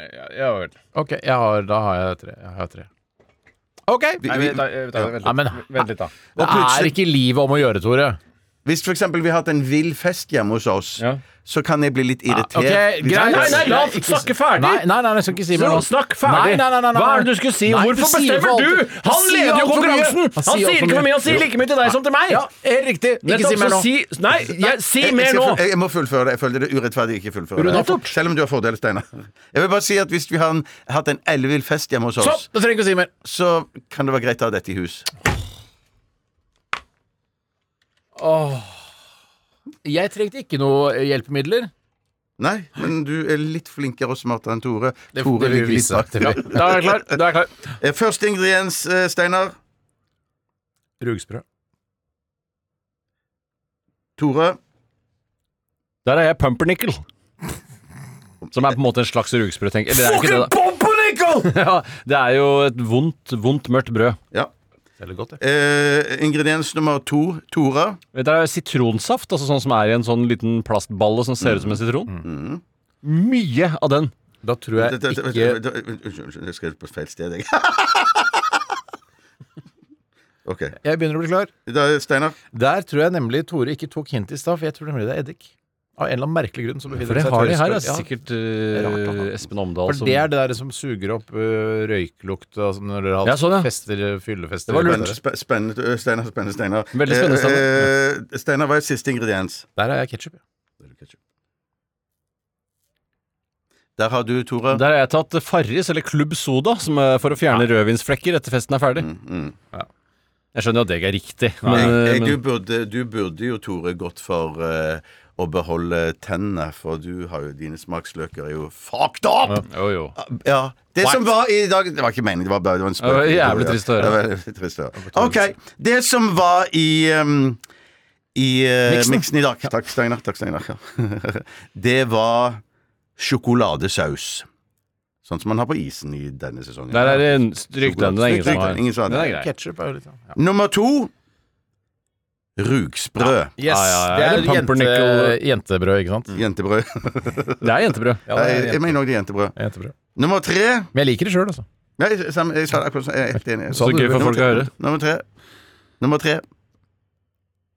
ja, ja vel.
Ok, jeg har, da har jeg tre. Jeg har tre.
OK. Vi,
Nei,
vi,
vi, da, vi, da, vent,
Nei, men-
litt. vent litt, da.
Det
plutselig-
er ikke livet om å gjøre, Tore.
Hvis for eksempel vi har hatt en vill fest hjemme hos oss, så kan jeg bli litt irritert.
Ah, Ok,
Hvis-
greit.
Nei, nei, la han
Ikke-
snakke ferdig!
Nei, nei, nei, jeg skal ikke si mer
Så
nå.
snakk ferdig.
Nei, nei, nei, nei, nei.
Hva er det du skulle si?
Nei,
Hvorfor
sier
bestemmer
for
du?
alt- sier
Han leder jo
alt for mye.
konkurransen! Han sier
alt
ikke
for
for mye, han sier
Jo.
like mye til deg som til meg!
Ja, helt riktig. Ikke
Nettopp,
si mer
så
nå.
si Nei, jeg, si mer nå!
Jeg, jeg må fullføre det. Jeg føler det er urettferdig å ikke fullføre det.
Nettopp.
Selv om du har fordel, Steinar. Jeg vil bare si at hvis vi har en, hatt en ellevill fest hjemme hos
Stopp!
oss,
Du trenger ikke å si mer.
så kan det være greit å ha dette i hus.
Jeg trengte ikke noe hjelpemidler.
Nei, men du er litt flinkere og smartere enn Tore.
Det-
Tore
det vil
ligger litt
vise.
bak. <laughs>
Det vil-
Da er jeg klar. Da er jeg klar.
Eh, Første ingrediens, eh, Steinar.
Rugsprø.
Tore.
Der er jeg pumpernickel. Som er på en måte en slags rugsprø, tenker jeg. Eller det er ikke det, da. <laughs> Ja, det er jo et vondt, vondt mørkt brød.
Ja.
Selger godt, det.
Eh, ingrediens nummer to, Tore.
Vet dere, Det er sitronsaft, altså sånn som er i en sånn liten plastballe som ser ut som en sitron. Mye av den.
Da tror
Eh,
jeg
Dette- dette-
ikke
dette- Unnskyld, unnskyld, jeg skrev på feil sted, jeg. <laughs> OK.
Jeg begynner å bli klar.
Da, Steinar.
Der tror jeg nemlig Tore ikke tok hint i stad, for jeg tror nemlig det er eddik. Av en eller annen merkelig grunn. Så befinner
For det
seg
har de her,
tørrskål.
altså.
Ja.
Sikkert eh,
Det er rart, da.
Espen Omdal
For
som
det er det der som suger opp øh, røyklukt altså når dere har
Ja, sånn, ja.
fester, eh, fyllefester.
Det var lurt.
Spen- sp- Spennende, øh, Steinar. Spennende, Steinar.
Veldig spennende,
Steinar. Eh, Steinar, hva er siste ingrediens?
Der er jeg ketsjup.
Der har du, Tore.
Der har jeg tatt Farris, eller Klubb Soda, som er for å fjerne rødvinsflekker etter festen er ferdig. Jeg skjønner jo at det ikke er riktig, men, eh,
jeg,
men
jeg, Eh, du, burde, du burde jo, Tore, gått for eh, å beholde tennene, for du har jo dine smaksløker er jo fucked up!
Jo, jo.
Ja. Det som var i dag Det var ikke meningen, det var bare det var en
Det
spøk.
var jævlig trist å høre.
Det var veldig trist å høre. OK. Det som var i um, i eh,
Miksen.
miksen i dag Takk, Steinar. Takk, Steinar. Ja. <laughs> det var sjokoladesaus. Sånn som man har på isen i denne sesongen.
Der er det en stryk den. Det er ingen som har
Ingen som har
Den er
den.
grei.
Ketsjup er jo litt sånn. Ja.
Nummer to rugsprø.
Yes,
Ja, ja, ja.
Det er
Eller pumpernickel.
jente, eh. jentebrød, ikke sant?
Jentebrød.
Det er jentebrød.
Ja, det
Nei,
er
jeg, <laughs> jeg
jente-
mener òg det er jentebrød.
jentebrød.
Nummer tre
Men jeg liker det sjøl, altså.
Nei, jeg, jeg, jeg sa det akkurat sånn. Jeg er helt enig.
Så gøy for
Nummer
folk å
tre.
høre.
Nummer tre. Nummer tre.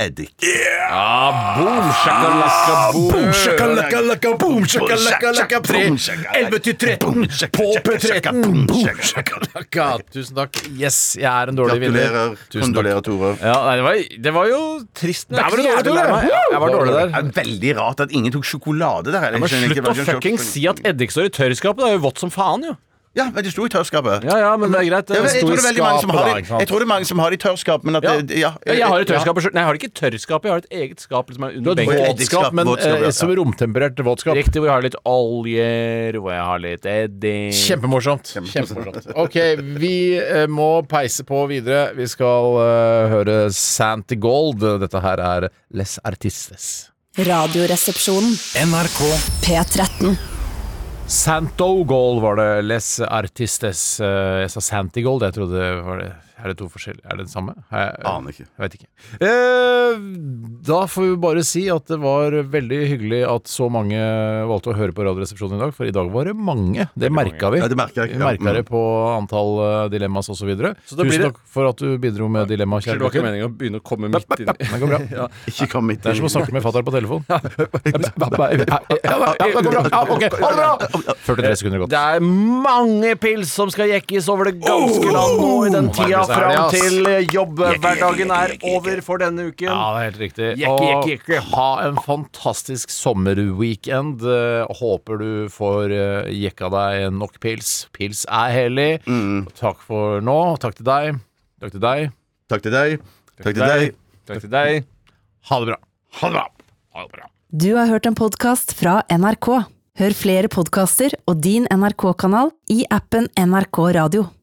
Eddik.
Ja, boom, shakalaka, boom.
Tusen takk. Yes, jeg er en dårlig vinner.
Gratulerer.
Tusen
Kondolerer, Tore.
Ja, nei, det, var, det var jo trist. men
Der
jeg er
var du
ikke så jævlig
dårlig,
lei
Tore.
meg. Ja, Jeg var dårlig
Det
der.
er veldig rart at ingen tok sjokolade der.
Men slutt å fuckings si at eddik står i tørrskapet. Det er jo vått som faen, jo.
Ja, men det sto i tørrskapet.
Ja, ja, men det er greit.
Jeg,
Det
jeg,
sto
tror
i
det er veldig mange som har
skapet, da,
det
ikke sant?
Jeg tror det er mange som har det i tørrskap, men at
Ja.
det, ja.
Ja, jeg har det i tørrskapet sjøl. Nei, jeg har det ikke i tørrskapet. Jeg har et eget skap liksom, under
Du har
benken.
et våtskap, men
Våtskap, ja.
eh, som romtemperert våtskap.
Riktig, hvor jeg har litt oljer, hvor jeg har litt eddik
Kjempemorsomt. Kjempemorsomt. <laughs> Ok, vi eh, må peise på videre. Vi skal eh, høre Santi Gold. Dette her er Les Artistes.
Radioresepsjonen.
NRK
P13.
Santo Gold var det. Les Artistes. Eh, Jeg sa Santi Gold, jeg trodde det var det. Er det to forskjellige? Er det den samme? Har jeg-
Aner ikke.
Jeg vet ikke. Eh, da får vi bare si at det var veldig hyggelig at så mange valgte å høre på Radioresepsjonen i dag, for i dag var det mange. Det merka vi.
Ja, det merker jeg.
Vi
Ja,
merka
mm.
det på antall eh, dilemmas osv.
da
Tusen
blir det-
takk for at du bidro med dilemma,
Det
kjære
var ikke
gutter.
meningen å begynne å komme midt inn i
Det går bra. <laughs>
Ikke kom midt
Det er som å snakke med fatter'n på telefon. <laughs> Ja, det går bra. Ja, ok. Ha det bra! 43 sekunder gått.
Det er mange pils som skal jekkes over det ganske land nå i den tida
nærmest er det,
fram
ass.
til jobbhverdagen er over for denne uken.
Ja, det er helt riktig.
Jekke, jekke, jekke.
Og ha en fantastisk sommerweekend. Eh, Håper du får eh, jekka deg nok pils. Pils er hellig.
Mm.
Takk for nå. Takk til deg. Takk til deg.
Takk til deg. Takk til deg.
Takk til deg.
Ha det bra.
Ha det bra.
Du har hørt en podkast fra NRK. Hør flere podkaster og din NRK-kanal i appen NRK Radio.